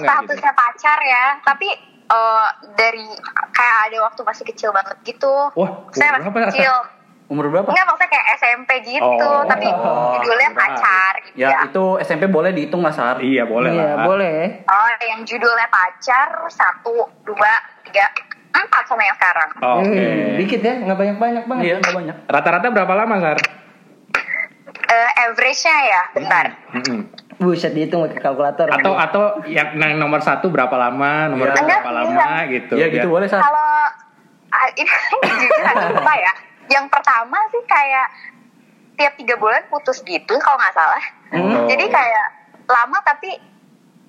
[SPEAKER 2] nggak gitu?
[SPEAKER 4] statusnya pacar ya tapi eh, dari kayak ada waktu masih kecil banget gitu
[SPEAKER 2] Wah,
[SPEAKER 4] saya
[SPEAKER 2] umur
[SPEAKER 4] masih
[SPEAKER 2] berapa?
[SPEAKER 4] kecil
[SPEAKER 3] Umur berapa?
[SPEAKER 4] enggak maksudnya kayak SMP gitu
[SPEAKER 2] Oh,
[SPEAKER 4] tapi judulnya
[SPEAKER 2] kurang.
[SPEAKER 4] pacar gitu
[SPEAKER 3] Ya, itu SMP boleh dihitung lah Sar.
[SPEAKER 2] Iya, boleh
[SPEAKER 1] iya,
[SPEAKER 2] lah.
[SPEAKER 1] boleh.
[SPEAKER 4] oh yang judulnya pacar satu dua tiga empat sama yang sekarang
[SPEAKER 2] Oke.
[SPEAKER 1] Hmm, dikit ya, nggak banyak-banyak banget.
[SPEAKER 3] Iya, nggak banyak.
[SPEAKER 2] Rata-rata berapa lama, Sar?
[SPEAKER 4] Eh, average-nya ya bentar
[SPEAKER 2] Mm-mm.
[SPEAKER 1] Buset dihitung pakai kalkulator.
[SPEAKER 2] Atau atau yang yang nomor satu berapa lama, nomor
[SPEAKER 3] Iya.
[SPEAKER 2] dua
[SPEAKER 4] Enggak,
[SPEAKER 2] berapa
[SPEAKER 4] iya.
[SPEAKER 2] lama gitu.
[SPEAKER 3] Iya, gitu boleh Sar.
[SPEAKER 4] kalau ah, [laughs] ini jujur agak lupa ya yang pertama sih kayak tiap tiga bulan putus gitu kalau nggak salah
[SPEAKER 2] Oh.
[SPEAKER 4] jadi kayak lama tapi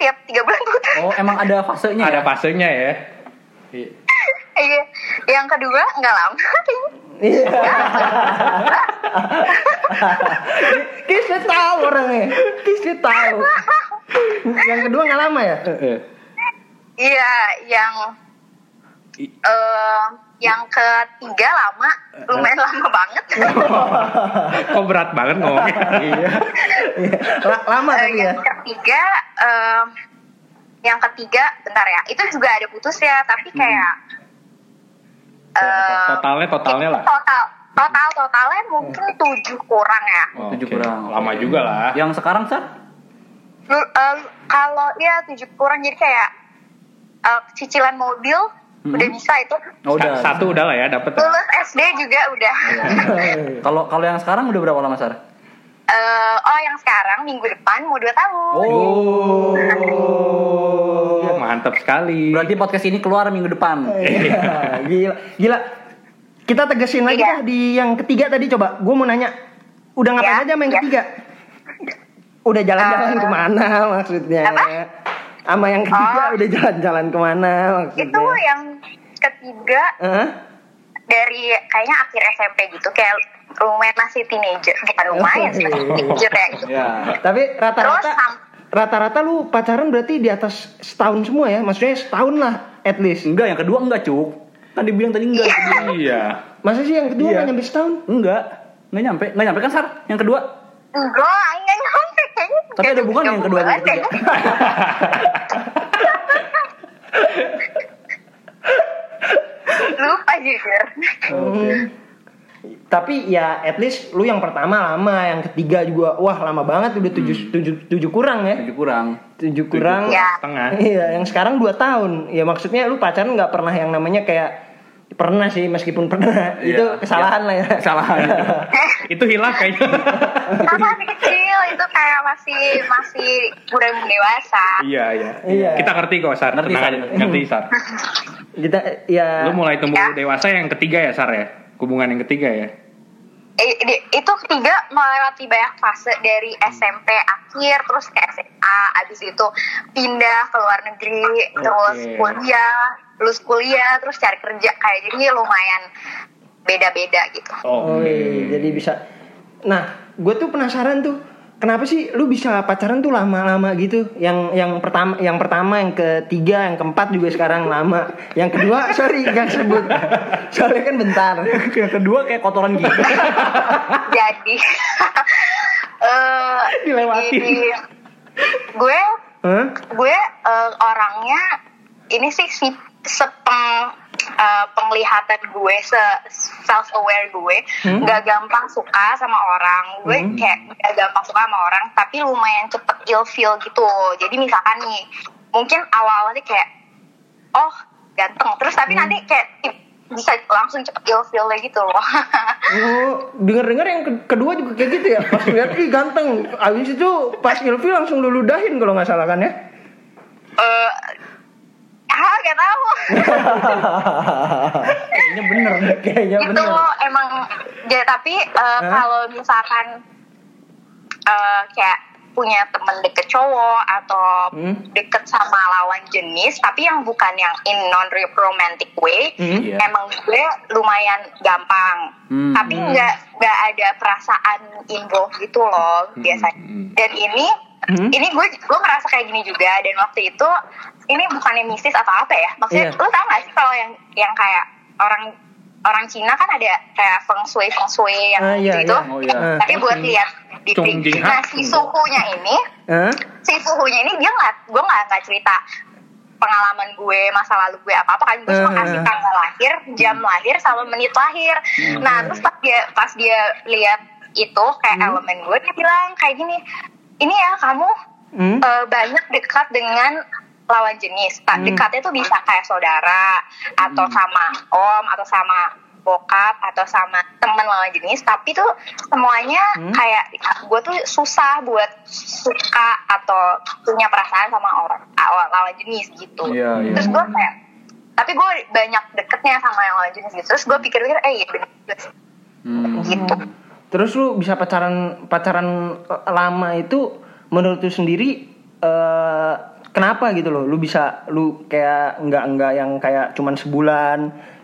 [SPEAKER 4] tiap tiga bulan putus
[SPEAKER 3] Oh, emang ada fasenya
[SPEAKER 2] Ada
[SPEAKER 3] ya?
[SPEAKER 2] fasenya ya. Iya.
[SPEAKER 4] [laughs]
[SPEAKER 1] Eh,
[SPEAKER 4] Iya. yang kedua nggak lama [laughs]
[SPEAKER 1] Iya. Kisnya tahu orangnya. Kisnya tahu. Yang kedua nggak lama ya?
[SPEAKER 2] Eh, eh.
[SPEAKER 4] iya yang
[SPEAKER 2] I-
[SPEAKER 4] eh yang ketiga lama lumayan lama banget
[SPEAKER 2] Kok berat banget ngomongnya?
[SPEAKER 4] [laughs]
[SPEAKER 2] Iya.
[SPEAKER 1] Iya. La- lama tapi
[SPEAKER 4] Eh,
[SPEAKER 1] ya.
[SPEAKER 4] yang ketiga em, yang ketiga bentar ya itu juga ada putus ya tapi kayak em,
[SPEAKER 2] Totalnya totalnya lah.
[SPEAKER 4] total total totalnya mungkin tujuh kurang ya
[SPEAKER 3] Tujuh
[SPEAKER 2] Oke.
[SPEAKER 3] kurang. Ya,
[SPEAKER 2] Lama juga lah.
[SPEAKER 3] Yang sekarang Sar?
[SPEAKER 4] Lu- eh, kalau ya tujuh kurang jadi kayak eh, cicilan mobil udah bisa itu
[SPEAKER 3] Oh, udah.
[SPEAKER 2] Sa- Satu udah lah ya dapet.
[SPEAKER 4] lulus SD juga udah
[SPEAKER 3] Kalau kalau yang sekarang udah berapa lama Sar?
[SPEAKER 4] Eh, oh yang sekarang minggu depan mau dua tahun
[SPEAKER 3] Oh.
[SPEAKER 2] Oh, mantap sekali.
[SPEAKER 3] Iya. Berarti podcast ini keluar minggu depan.
[SPEAKER 1] Iya. Gila. Gila. Kita tegesin lagi
[SPEAKER 4] Iya.
[SPEAKER 1] lah di yang ketiga tadi coba. Gue mau nanya. Udah ngapain
[SPEAKER 4] Iya,
[SPEAKER 1] aja sama yang
[SPEAKER 4] iya. Eh.
[SPEAKER 1] ketiga? Udah jalan-jalan kemana maksudnya?
[SPEAKER 4] Apa?
[SPEAKER 1] Sama yang ketiga
[SPEAKER 4] Oh.
[SPEAKER 1] udah jalan-jalan kemana maksudnya?
[SPEAKER 4] itu Gitu, ya. yang ketiga
[SPEAKER 1] Hah?
[SPEAKER 4] dari kayaknya akhir SMP gitu kayak lumayan masih teenager bukan lumayan sih masih teenager ya gitu
[SPEAKER 3] Ya.
[SPEAKER 2] Iya.
[SPEAKER 1] Tapi rata-rata
[SPEAKER 4] Terus sam-
[SPEAKER 1] rata-rata lu pacaran berarti di atas setahun semua ya? Maksudnya setahun lah at least.
[SPEAKER 3] Enggak, yang kedua enggak, Cuk. Kan dibilang tadi enggak.
[SPEAKER 2] Iya.
[SPEAKER 1] Masa sih yang kedua
[SPEAKER 3] Iya.
[SPEAKER 1] nggak nyampe setahun?
[SPEAKER 3] Enggak. Enggak nyampe. Enggak nyampe kan, Sar? Yang kedua.
[SPEAKER 4] enggak enggak nyampe kayaknya
[SPEAKER 3] Tapi ada hubungan yang kedua sama yang
[SPEAKER 4] kayaknya.
[SPEAKER 3] ketiga.
[SPEAKER 4] [laughs] lupa jujur
[SPEAKER 1] Hmm. Tapi ya at least lu yang pertama lama, yang ketiga juga wah lama banget udah tujuh, tujuh, tujuh kurang ya.
[SPEAKER 3] Tujuh kurang.
[SPEAKER 1] Hmm. Tujuh kurang.
[SPEAKER 4] kurang.
[SPEAKER 2] Setengah.
[SPEAKER 1] Iya, yang sekarang dua tahun. Ya maksudnya lu pacaran nggak pernah yang namanya kayak pernah sih meskipun pernah itu
[SPEAKER 3] Iya.
[SPEAKER 1] kesalahan lah ya.
[SPEAKER 3] Kesalahan.
[SPEAKER 2] Itu hilang kayaknya.
[SPEAKER 3] [laughs]
[SPEAKER 4] Karena masih kecil itu kayak masih masih kurang dewasa
[SPEAKER 2] iya, iya.
[SPEAKER 1] Iya.
[SPEAKER 2] Kita ngerti kok, Sar.
[SPEAKER 3] Ngerti,
[SPEAKER 2] Tenang
[SPEAKER 3] Sar. Iya.
[SPEAKER 2] aja. Ngerti, Sar.
[SPEAKER 1] Kita ya
[SPEAKER 2] Lu mulai tumbuh
[SPEAKER 4] Ya.
[SPEAKER 2] dewasa yang ketiga ya, Sar ya? Hubungan yang ketiga ya?
[SPEAKER 4] Eh, di- itu ketiga melewati banyak fase dari SMP akhir terus ke SMA abis itu pindah ke luar negeri terus
[SPEAKER 2] Oke.
[SPEAKER 4] kuliah lulus kuliah terus cari kerja kayak jadi lumayan beda-beda gitu
[SPEAKER 1] Oh, iya, jadi bisa. Nah, gue tuh penasaran tuh, kenapa sih lu bisa pacaran tuh lama-lama gitu? Yang yang pertama, yang pertama, yang ketiga, yang keempat juga sekarang lama. Yang kedua, [laughs] sorry, gak sebut. Soalnya kan bentar.
[SPEAKER 3] [laughs] yang kedua kayak kotoran gitu.
[SPEAKER 4] jadi [laughs] eh
[SPEAKER 1] Dilewatin.
[SPEAKER 4] di- gue
[SPEAKER 1] Hah?
[SPEAKER 4] gue eh, orangnya ini sih si sepeng eh, penglihatan gue se self aware gue nggak gampang suka sama orang gue kayak nggak gampang suka sama orang tapi lumayan cepet ill feel gitu jadi misalkan nih mungkin awal awalnya kayak oh ganteng terus tapi nanti kayak tip- bisa langsung cepet ill feel gitu loh [laughs]
[SPEAKER 1] Lu Oh, denger-denger yang ke- kedua juga kayak gitu ya? Pas lihat, ih ganteng. Abis itu pas ilfi langsung lu ludahin kalau nggak salah kan ya?
[SPEAKER 4] Eh, ah gak tahu
[SPEAKER 1] Kayaknya bener. Kayaknya
[SPEAKER 4] itu
[SPEAKER 1] Iya, bener.
[SPEAKER 4] Gitu, emang ya tapi uh, kalau misalkan uh, kayak punya temen deket cowok atau
[SPEAKER 1] Hmm.
[SPEAKER 4] deket sama lawan jenis tapi yang bukan yang in non romantic way
[SPEAKER 1] Hmm.
[SPEAKER 3] Iya.
[SPEAKER 4] emang gue lumayan gampang
[SPEAKER 3] Hmm.
[SPEAKER 4] tapi nggak nggak ada perasaan involved gitu loh biasanya dan ini
[SPEAKER 1] Hmm?
[SPEAKER 4] ini gue gue merasa kayak gini juga dan waktu itu ini bukannya mistis atau apa ya maksudnya
[SPEAKER 1] Iya.
[SPEAKER 4] lu tau gak sih kalau yang yang kayak orang orang Cina kan ada kayak feng shui feng shui yang
[SPEAKER 1] Ah, iya,
[SPEAKER 4] gitu.
[SPEAKER 1] iya.
[SPEAKER 3] Oh, iya.
[SPEAKER 4] Tapi buat lihat di
[SPEAKER 2] Chong Jing
[SPEAKER 4] Nah,
[SPEAKER 2] Hak.
[SPEAKER 4] si suhunya ini,
[SPEAKER 1] Hah?
[SPEAKER 4] si suhunya ini dia nggak, gue nggak nggak cerita pengalaman gue masa lalu gue apa apa kan gue cuma
[SPEAKER 1] Eh. Hmm.
[SPEAKER 4] kasih tanggal lahir, jam lahir sama menit lahir. Nah terus pas dia pas dia lihat itu
[SPEAKER 1] Hmm.
[SPEAKER 4] kayak elemen gue dia bilang kayak gini, ini ya kamu
[SPEAKER 1] Hmm?
[SPEAKER 4] Eh, banyak dekat dengan lawan jenis.
[SPEAKER 2] Hmm.
[SPEAKER 4] Pak, dekatnya tuh bisa kayak saudara atau sama om atau sama bokap atau sama temen lawan jenis. Tapi tuh semuanya
[SPEAKER 2] Hmm.
[SPEAKER 4] kayak gue tuh susah buat suka atau punya perasaan sama orang aw- lawan jenis gitu.
[SPEAKER 2] Iya, iya.
[SPEAKER 4] Terus gue kayak tapi gue banyak deketnya sama yang lawan jenis gitu. Terus gue pikir-pikir, eh iya bener juga sih.
[SPEAKER 2] Hmm.
[SPEAKER 4] gitu.
[SPEAKER 1] Terus lu bisa pacaran pacaran eh, lama itu menurut lu sendiri eh, kenapa gitu loh? Lu bisa lu kayak nggak nggak yang kayak cuman sebulan,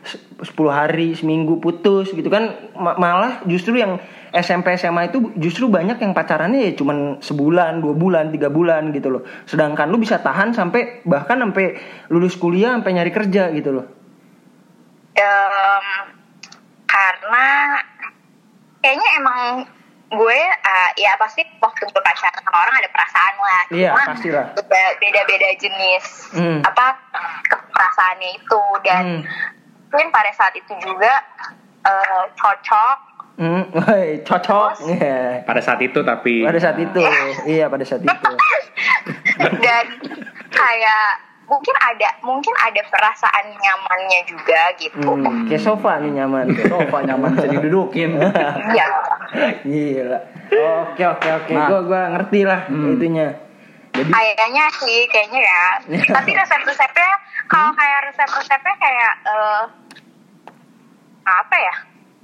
[SPEAKER 1] se- 10 hari, seminggu putus gitu kan Ma- malah justru yang SMP SMA itu justru banyak yang pacarannya ya cuman sebulan, dua bulan, tiga bulan gitu loh. Sedangkan lu bisa tahan sampai bahkan sampai lulus kuliah sampai nyari kerja gitu loh.
[SPEAKER 4] Em, karena kayaknya emang gue eh, ya pasti waktu gue pacaran sama orang ada perasaan lah
[SPEAKER 1] Iya,
[SPEAKER 4] Cuma
[SPEAKER 1] pastilah.
[SPEAKER 4] beda- beda-beda jenis
[SPEAKER 1] Hmm.
[SPEAKER 4] apa ke- perasaannya itu dan
[SPEAKER 1] Hmm.
[SPEAKER 4] mungkin pada saat itu juga eh, cocok [laughs]
[SPEAKER 1] Hmm, [laughs] woi, cocok. Iya.
[SPEAKER 2] Pada saat itu tapi
[SPEAKER 1] [laughs] Pada saat itu, iya pada saat itu.
[SPEAKER 4] dan kayak mungkin ada mungkin ada perasaan nyamannya juga gitu
[SPEAKER 1] Hmm, kayak sofa nih nyaman.
[SPEAKER 3] Sofa nyaman bisa didudukin.
[SPEAKER 2] [laughs]
[SPEAKER 4] Iya.
[SPEAKER 1] [laughs] Gila. Oke oke oke.
[SPEAKER 3] Nah. Hmm.
[SPEAKER 1] Gua gua ngerti lah itunya.
[SPEAKER 4] Kayaknya sih, kayaknya
[SPEAKER 3] [laughs]
[SPEAKER 4] ya. Tapi resep-resepnya, kalau
[SPEAKER 3] Hmm?
[SPEAKER 4] kayak resep-resepnya kayak eh, apa ya?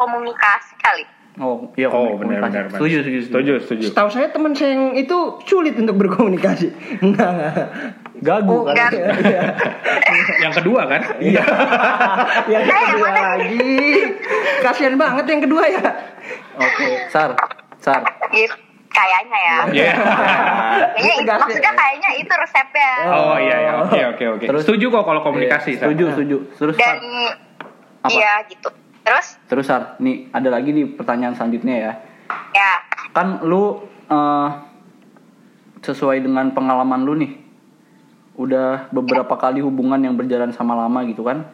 [SPEAKER 4] Komunikasi kali.
[SPEAKER 3] Oh, iya
[SPEAKER 2] Oh,
[SPEAKER 3] komunikasi.
[SPEAKER 2] benar benar. benar.
[SPEAKER 3] Setuju, setuju,
[SPEAKER 2] Setuju, setuju.
[SPEAKER 1] Setahu saya teman saya yang itu sulit untuk berkomunikasi. [laughs] Enggak enggak.
[SPEAKER 3] Gagu
[SPEAKER 4] Oh,
[SPEAKER 3] kan.
[SPEAKER 4] enggak.
[SPEAKER 1] Iya.
[SPEAKER 2] Yang kedua kan? Iya.
[SPEAKER 1] [laughs] yang kedua lagi. Kasihan banget yang kedua ya.
[SPEAKER 3] Oke, Sar. Sar.
[SPEAKER 4] Gitu. Kayaknya ya.
[SPEAKER 3] [laughs]
[SPEAKER 2] Iya.
[SPEAKER 4] Kayaknya itu-
[SPEAKER 1] Ditegasin.
[SPEAKER 4] maksudnya kayaknya itu resepnya.
[SPEAKER 2] Oh iya iya. Oke oke oke.
[SPEAKER 3] Terus-
[SPEAKER 2] Setuju kok kalau komunikasi. Sar. Iya.
[SPEAKER 3] Iya, Setuju, setuju. Terus
[SPEAKER 4] Dan
[SPEAKER 3] Sar. Apa?
[SPEAKER 4] iya gitu. Terus
[SPEAKER 3] Terus Sar, nih ada lagi nih pertanyaan selanjutnya ya.
[SPEAKER 4] ya
[SPEAKER 3] Kan lu eh, sesuai dengan pengalaman lu nih. Udah beberapa kali hubungan yang berjalan sama lama gitu kan.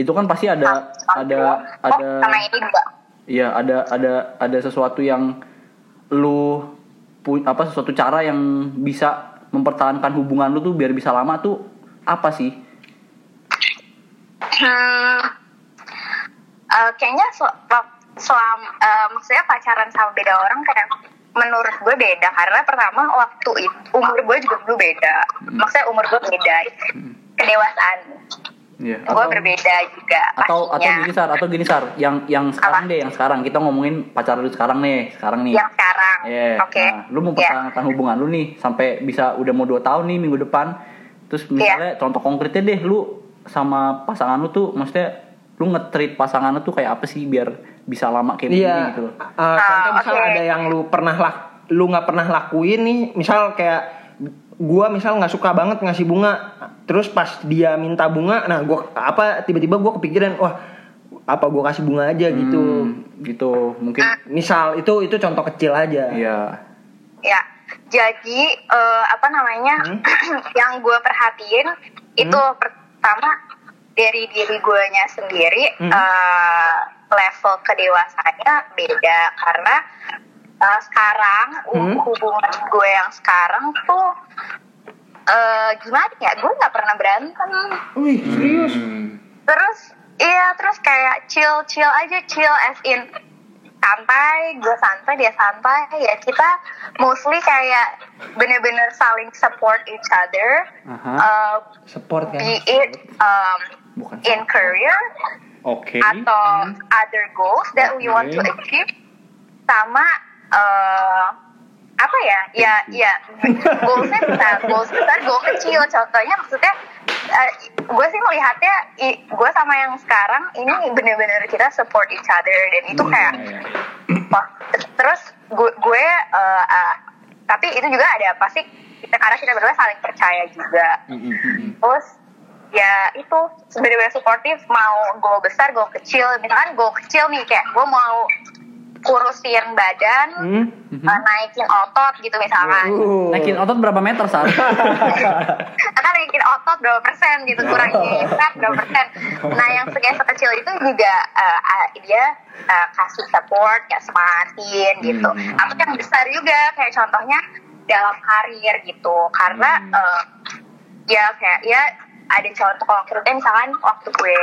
[SPEAKER 3] Itu kan pasti ada ada
[SPEAKER 4] oh,
[SPEAKER 3] ada
[SPEAKER 4] sama ini juga.
[SPEAKER 3] Iya, ada ada ada sesuatu yang lu pu- apa sesuatu cara yang bisa mempertahankan hubungan lu tuh biar bisa lama tuh apa sih?
[SPEAKER 4] Hmm, eh, kayaknya sel- wak- selam, eh, maksudnya pacaran sama beda orang kayak menurut gue beda karena pertama waktu itu umur gue juga dulu beda maksudnya umur gue beda kedewasaan
[SPEAKER 3] Iya.
[SPEAKER 4] gue
[SPEAKER 3] Atau
[SPEAKER 4] berbeda juga
[SPEAKER 3] atau atau
[SPEAKER 4] pastinya
[SPEAKER 3] gini sar, atau gini sar, yang yang sekarang deh, yang sekarang kita ngomongin pacar lu sekarang nih, sekarang nih.
[SPEAKER 4] yang sekarang
[SPEAKER 3] Iya.
[SPEAKER 4] oke
[SPEAKER 3] Nah, lu mempertahankan hubungan lu nih sampai bisa udah mau 2 tahun nih minggu depan. Terus
[SPEAKER 4] Iya.
[SPEAKER 3] misalnya contoh konkretnya deh lu sama pasangan lu tuh maksudnya lu nge-treat pasangan lu tuh kayak apa sih biar bisa lama kayak
[SPEAKER 1] Iya.
[SPEAKER 3] begini gitu. loh.
[SPEAKER 1] eh, contoh
[SPEAKER 4] Ah,
[SPEAKER 1] misal
[SPEAKER 4] oke.
[SPEAKER 1] ada yang lu pernah lak, lu nggak pernah lakuin nih, misal kayak gua misal nggak suka banget ngasih bunga, terus pas dia minta bunga, nah gua apa tiba-tiba gua kepikiran, wah apa gua kasih bunga aja gitu.
[SPEAKER 3] Hmm, gitu mungkin
[SPEAKER 1] Misal itu itu contoh kecil aja.
[SPEAKER 3] Iya.
[SPEAKER 4] Ya, jadi eh, apa namanya [clears throat] yang gue perhatiin itu pertama dari diri guanya sendiri eh, level kedewasaannya beda karena eh, sekarang
[SPEAKER 1] Hmm.
[SPEAKER 4] hubungan gue yang sekarang tuh eh, gimana ya gue nggak pernah berantem
[SPEAKER 1] Wih serius.
[SPEAKER 2] Hmm.
[SPEAKER 4] terus iya terus kayak chill chill aja chill as in santai gue santai dia santai ya kita mostly kayak bener-bener saling support each other
[SPEAKER 3] Aha.
[SPEAKER 4] uh,
[SPEAKER 1] Support kan.
[SPEAKER 4] be it um,
[SPEAKER 3] Bukan.
[SPEAKER 4] in career
[SPEAKER 2] Oke.
[SPEAKER 4] atau other goals that we want to
[SPEAKER 2] Oke.
[SPEAKER 4] achieve sama uh, apa ya ya ya goalsnya besar goals besar goal kecil contohnya maksudnya gue sih melihatnya gue sama yang sekarang ini bener-bener kita support each other dan itu kayak
[SPEAKER 2] Iya,
[SPEAKER 4] Wah, terus gue, gue, eh, eh, tapi itu juga ada pasti kita karena kita berdua saling percaya juga
[SPEAKER 2] Mm, mm, mm.
[SPEAKER 4] terus ya itu sebenarnya suportif mau goal besar goal kecil misalkan goal kecil nih kayak gue mau kurusin badan
[SPEAKER 1] Hmm?
[SPEAKER 4] eh, naikin otot gitu misalkan
[SPEAKER 1] Uh.
[SPEAKER 3] Naikin otot berapa meter [laughs] saat?
[SPEAKER 4] akan naikin otot berapa persen gitu kurangin fat berapa persen nah yang kayak sekecil itu juga eh, ah, dia eh, kasih support ya semangatin gitu atau yang besar juga kayak contohnya dalam karir gitu karena eh, ya kayak ya ada contoh konkretnya misalkan waktu gue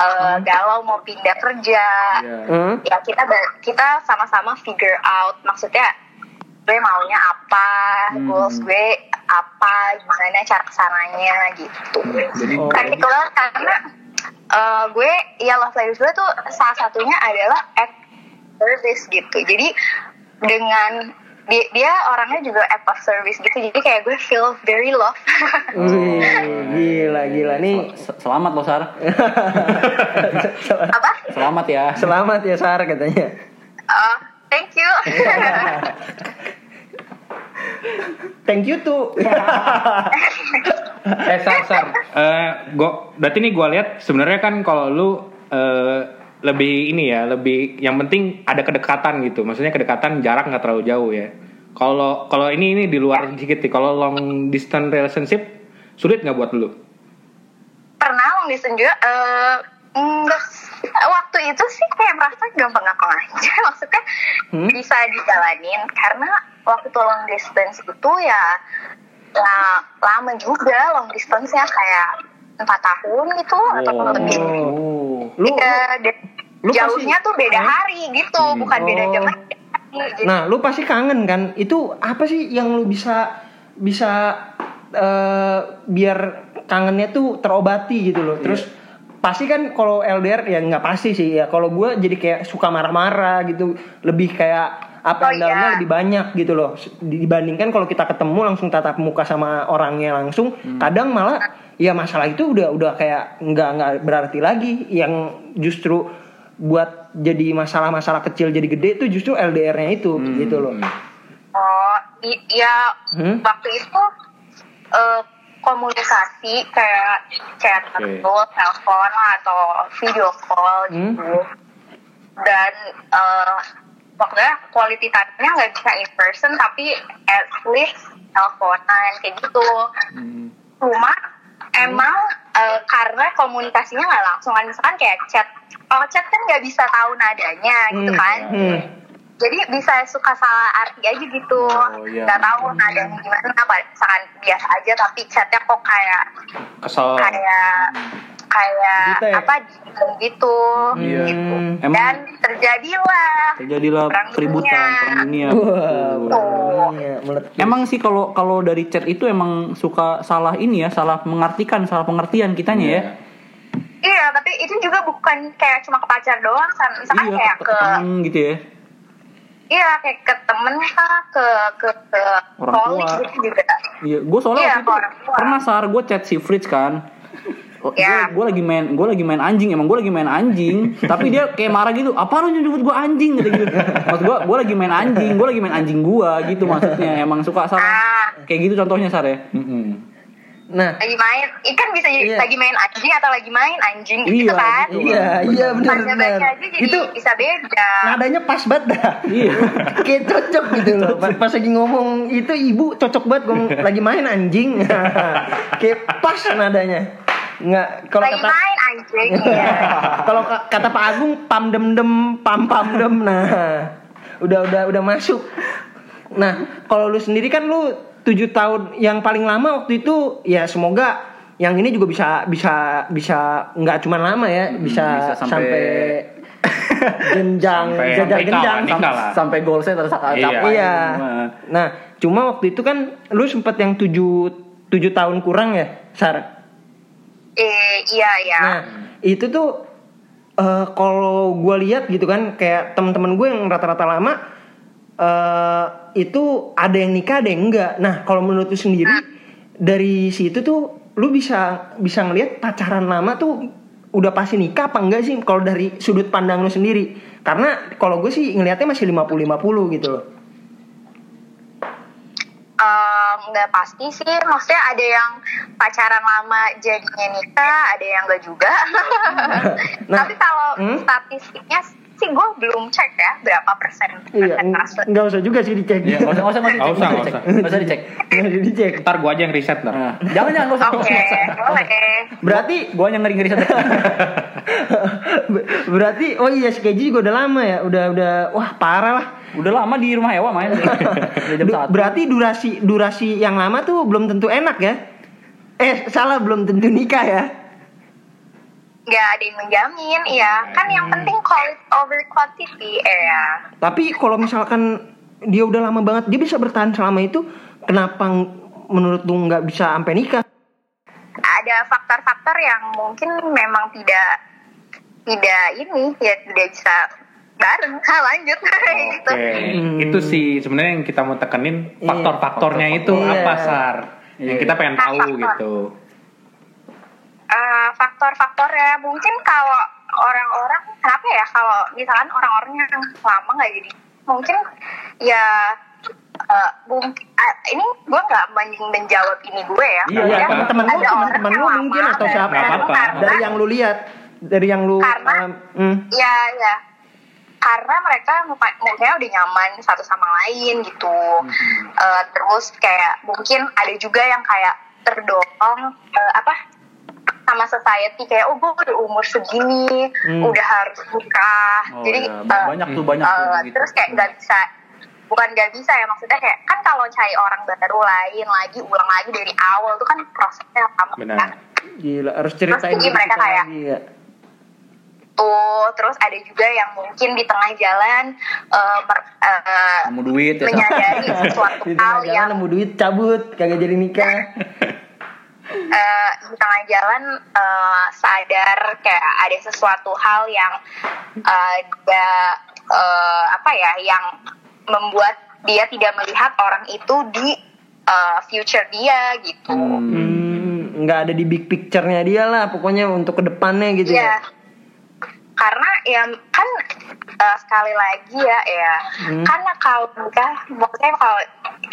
[SPEAKER 4] eh, galau mau pindah kerja
[SPEAKER 1] Hmm?
[SPEAKER 4] ya kita ber- kita sama-sama figure out maksudnya gue maunya apa goals gue apa gimana cara kesananya gitu practical banget karena eh, gue ya love language gue tuh salah satunya adalah act service gitu jadi dengan dia, dia orangnya juga act of service gitu jadi kayak gue feel very love [laughs]
[SPEAKER 1] Wih, gila gila nih.
[SPEAKER 3] Se- Selamat loh Sar.
[SPEAKER 4] apa
[SPEAKER 3] [laughs] Selamat ya.
[SPEAKER 1] Selamat ya Sar katanya.
[SPEAKER 4] Eh, thank you
[SPEAKER 1] [laughs] Thank you tuh.
[SPEAKER 2] eh sar sar Eh, gua berarti nih gua lihat sebenarnya kan kalau lu eh, lebih ini ya lebih yang penting ada kedekatan gitu maksudnya kedekatan jarak nggak terlalu jauh ya kalau kalau ini ini di luar sedikit nih kalau long distance relationship sulit nggak buat lu
[SPEAKER 4] pernah long distance juga eh, enggak waktu itu sih kayak merasa gampang-gampang [laughs] aja maksudnya
[SPEAKER 1] Hmm?
[SPEAKER 4] bisa dijalanin karena waktu itu long distance itu ya ya lama juga long distance ya kayak empat tahun gitu atau lebih
[SPEAKER 1] Oh. Lu, lu-
[SPEAKER 4] Eh, dan
[SPEAKER 1] lu
[SPEAKER 4] jauhnya
[SPEAKER 1] pasti-
[SPEAKER 4] tuh beda hari gitu bukan beda
[SPEAKER 1] Oh.
[SPEAKER 4] jam beda hari. Jadi
[SPEAKER 1] nah, lu pasti kangen kan? Itu apa sih yang lu bisa bisa eh, biar kangennya tuh terobati gitu loh. Terus pasti kan kalau LDR ya nggak pasti sih ya. Kalau gue jadi kayak suka marah-marah gitu, lebih kayak apa
[SPEAKER 4] Oh,
[SPEAKER 1] yang dalamnya
[SPEAKER 4] iya.
[SPEAKER 1] lebih banyak gitu loh dibandingkan kalau kita ketemu langsung tatap muka sama orangnya langsung kadang malah ya masalah itu udah udah kayak nggak nggak berarti lagi yang justru buat jadi masalah-masalah kecil jadi gede itu justru LDR-nya itu gitu loh
[SPEAKER 4] Oh, i- ya
[SPEAKER 1] Hmm?
[SPEAKER 4] waktu itu eh, komunikasi kayak chat
[SPEAKER 2] Oke.
[SPEAKER 4] atau telepon lah, atau video call
[SPEAKER 1] Hmm?
[SPEAKER 4] gitu. Dan eh maksudnya quality time-nya nggak bisa in person tapi at least teleponan kayak gitu.
[SPEAKER 1] Hmm.
[SPEAKER 4] Cuma emang eh, karena komunikasinya nggak langsung kan misalkan kayak chat. Kalau chat kan nggak bisa tahu nadanya gitu
[SPEAKER 1] Hmm,
[SPEAKER 4] kan
[SPEAKER 1] hmm.
[SPEAKER 4] jadi bisa suka salah arti aja gitu
[SPEAKER 2] Oh, iya.
[SPEAKER 4] nggak tahu nadanya gimana apa misalkan biasa aja tapi chatnya kok kayak
[SPEAKER 3] Oh.
[SPEAKER 2] kesel
[SPEAKER 4] kayak kayak
[SPEAKER 1] Jutek.
[SPEAKER 4] apa gitu
[SPEAKER 2] Iya.
[SPEAKER 4] gitu
[SPEAKER 3] Emang-
[SPEAKER 4] dan terjadilah
[SPEAKER 3] Terjadilah
[SPEAKER 4] Perang dunia.
[SPEAKER 3] Ya keributan perang dunia.
[SPEAKER 1] Wah,
[SPEAKER 3] Betul.
[SPEAKER 1] warnanya meletus.
[SPEAKER 3] Emang sih kalau kalau dari chat itu emang suka salah ini ya, salah mengartikan, salah pengertian kitanya
[SPEAKER 2] Iya.
[SPEAKER 3] ya.
[SPEAKER 4] iya tapi itu juga bukan kayak cuma ke pacar doang kan misalkan
[SPEAKER 3] Iya,
[SPEAKER 4] kayak
[SPEAKER 3] ke-
[SPEAKER 4] ke
[SPEAKER 3] temen gitu ya.
[SPEAKER 4] iya kayak ke temen kah ke ke ke
[SPEAKER 3] Orang
[SPEAKER 4] colleague
[SPEAKER 3] tua.
[SPEAKER 4] gitu juga
[SPEAKER 3] Iya, gue soalnya
[SPEAKER 4] Iya,
[SPEAKER 3] waktu itu
[SPEAKER 4] orang tua.
[SPEAKER 3] pernah sar gue chat si Fritz kan.
[SPEAKER 4] Iya.
[SPEAKER 3] Gue lagi main, gue lagi main anjing emang gue lagi main
[SPEAKER 4] [laughs]
[SPEAKER 3] anjing. tapi dia kayak marah gitu. Apa lu nyebut gue anjing gitu gitu. Maksud gue, gue lagi main anjing, gue lagi main anjing gue gitu maksudnya. Emang suka salah
[SPEAKER 4] ah
[SPEAKER 3] kayak gitu contohnya sar ya.
[SPEAKER 2] Mm-mm.
[SPEAKER 1] Nah,
[SPEAKER 4] lagi main ikan bisa jadi
[SPEAKER 1] Iya.
[SPEAKER 4] lagi main anjing atau lagi main anjing
[SPEAKER 3] Iya,
[SPEAKER 4] gitu kan
[SPEAKER 3] gitu.
[SPEAKER 1] iya, iya
[SPEAKER 4] Tanda baca
[SPEAKER 1] benar-benar.
[SPEAKER 4] aja jadi
[SPEAKER 1] Itu Nah,
[SPEAKER 4] bisa beda.
[SPEAKER 1] nadanya pas banget dah.
[SPEAKER 3] Iya.
[SPEAKER 1] [laughs] Kayak cocok gitu loh. Pas, pas lagi ngomong itu ibu cocok banget ngomong lagi main anjing. [laughs] Kayak pas nadanya. Nggak kalau
[SPEAKER 4] Lagi
[SPEAKER 1] kata
[SPEAKER 4] main
[SPEAKER 1] [laughs]
[SPEAKER 4] anjing ya.
[SPEAKER 1] Iya. kalau ka- kata Pak Agung pam dem dem pam pam dem. Nah, udah udah udah masuk. Nah, kalau lu sendiri kan lu tujuh tahun yang paling lama waktu itu ya semoga yang ini juga bisa bisa bisa nggak cuma lama ya bisa,
[SPEAKER 3] bisa sampai-
[SPEAKER 1] sampai, jenjang
[SPEAKER 2] Sampai-
[SPEAKER 1] jenjang
[SPEAKER 2] sampai nikah lah,
[SPEAKER 1] jenjang
[SPEAKER 2] nikah lah.
[SPEAKER 3] sampai ah, goal saya tercapai
[SPEAKER 2] Iya.
[SPEAKER 3] capai
[SPEAKER 1] Iya.
[SPEAKER 3] semua.
[SPEAKER 1] Nah, cuma waktu itu kan lu sempet yang tujuh tujuh tahun kurang ya, Sar.
[SPEAKER 4] Eh, iya ya.
[SPEAKER 1] Nah, itu tuh eh kalau gue lihat gitu kan, kayak teman-teman gue yang rata-rata lama eh itu ada yang nikah, ada yang enggak. Nah, kalau menurut lu sendiri dari situ tuh lu bisa bisa ngelihat pacaran lama tuh udah pasti nikah apa enggak sih kalau dari sudut pandang lu sendiri? Karena kalau gue sih ngelihatnya masih 50-50 gitu loh.
[SPEAKER 4] Eh, nggak pasti sih maksudnya ada yang pacaran lama jadinya nikah ada yang nggak juga
[SPEAKER 1] Nah,
[SPEAKER 4] tapi kalau
[SPEAKER 1] hmm?
[SPEAKER 4] statistiknya sih gue belum cek ya berapa persen
[SPEAKER 1] Iya,
[SPEAKER 4] persen
[SPEAKER 1] n-
[SPEAKER 4] transfer
[SPEAKER 1] nggak usah juga sih dicek.
[SPEAKER 3] Iya, nggak usah nggak usah dicek,
[SPEAKER 2] Nggak usah,
[SPEAKER 3] nggak
[SPEAKER 2] nggak
[SPEAKER 3] dicek,
[SPEAKER 2] usah.
[SPEAKER 3] nggak usah dicek.
[SPEAKER 1] [laughs] Nggak usah dicek.
[SPEAKER 2] Ntar gua aja yang riset ntar.
[SPEAKER 3] Nah, jangan jangan nggak usah.
[SPEAKER 4] oke boleh
[SPEAKER 1] Berarti
[SPEAKER 3] Gue yang ngeri ngeri satu.
[SPEAKER 1] [laughs] berarti oh iya si Keji juga udah lama ya, udah udah wah parah lah.
[SPEAKER 3] Udah lama di rumah Ewa [laughs] main. Udah jam
[SPEAKER 1] Du-
[SPEAKER 3] satu.
[SPEAKER 1] berarti durasi durasi yang lama tuh belum tentu enak ya. Eh salah belum tentu nikah ya.
[SPEAKER 4] nggak ada yang menjamin ya kan yang
[SPEAKER 1] Hmm.
[SPEAKER 4] penting quality over quantity eh, ya
[SPEAKER 1] Tapi kalau misalkan dia udah lama banget, dia bisa bertahan selama itu, kenapa ng- menurut lu nggak bisa sampai nikah?
[SPEAKER 4] ada faktor-faktor yang mungkin memang tidak tidak ini ya tidak bisa bareng ah, [laughs] lanjut gitu
[SPEAKER 2] Oke, itu sih sebenarnya yang kita mau tekenin
[SPEAKER 1] Iya.
[SPEAKER 2] faktor-faktornya itu
[SPEAKER 1] Iya.
[SPEAKER 2] apa sar yang
[SPEAKER 3] Iya.
[SPEAKER 2] kita pengen tahu
[SPEAKER 4] Faktor.
[SPEAKER 2] gitu.
[SPEAKER 4] Eh, faktor-faktornya mungkin kalau orang-orang kenapa ya kalau misalkan orang-orang yang lama nggak jadi mungkin ya eh, mungkin ah, ini gue nggak men- menjawab ini gue ya
[SPEAKER 1] Iya,
[SPEAKER 4] Maksudnya
[SPEAKER 2] apa-apa.
[SPEAKER 1] teman-teman lu,
[SPEAKER 4] ada orang
[SPEAKER 1] teman-teman lu
[SPEAKER 4] yang lama
[SPEAKER 1] mungkin atau
[SPEAKER 4] dan-
[SPEAKER 1] siapa.
[SPEAKER 2] Nggak apa-apa.
[SPEAKER 4] karena-
[SPEAKER 1] Dari yang lu lihat, dari yang lu
[SPEAKER 4] Karena-
[SPEAKER 1] um, hmm.
[SPEAKER 4] Ya, ya. Karena mereka muka- mukanya udah nyaman satu sama lain gitu.
[SPEAKER 3] Mm-hmm.
[SPEAKER 4] Eh, terus kayak mungkin ada juga yang kayak terdorong eh, apa sama society kayak oh gue udah umur segini
[SPEAKER 1] Hmm.
[SPEAKER 4] udah harus nikah
[SPEAKER 3] Mm. Oh,
[SPEAKER 4] jadi
[SPEAKER 3] iya.
[SPEAKER 4] eh,
[SPEAKER 3] banyak tuh banyak tuh
[SPEAKER 4] eh,
[SPEAKER 3] gitu.
[SPEAKER 4] terus kayak nggak bisa bukan nggak bisa ya maksudnya kayak kan kalau cari orang baru lain lagi ulang lagi dari awal tuh kan prosesnya lama
[SPEAKER 2] Benar.
[SPEAKER 4] kan
[SPEAKER 1] Gila, harus ceritain
[SPEAKER 4] Pasti mereka
[SPEAKER 1] kita
[SPEAKER 4] kayak-
[SPEAKER 1] lagi, ya.
[SPEAKER 4] tuh terus ada juga yang mungkin di tengah jalan eh, mer- eh,
[SPEAKER 3] Kamu duit ya.
[SPEAKER 4] menyadari suatu
[SPEAKER 1] [laughs] Di
[SPEAKER 4] hal
[SPEAKER 1] tengah jalan
[SPEAKER 4] yang
[SPEAKER 1] nemu duit cabut, kagak jadi nikah.
[SPEAKER 4] eh, di tengah jalan eh, sadar kayak ada sesuatu hal yang eh, dia eh, apa ya yang membuat dia tidak melihat orang itu di eh, future dia gitu.
[SPEAKER 1] Hmm, nggak ada di big picture-nya dia lah, pokoknya untuk kedepannya gitu
[SPEAKER 4] Iya.
[SPEAKER 1] ya.
[SPEAKER 4] Karena ya kan eh, sekali lagi ya ya. Karena kalau nikah maksudnya kalau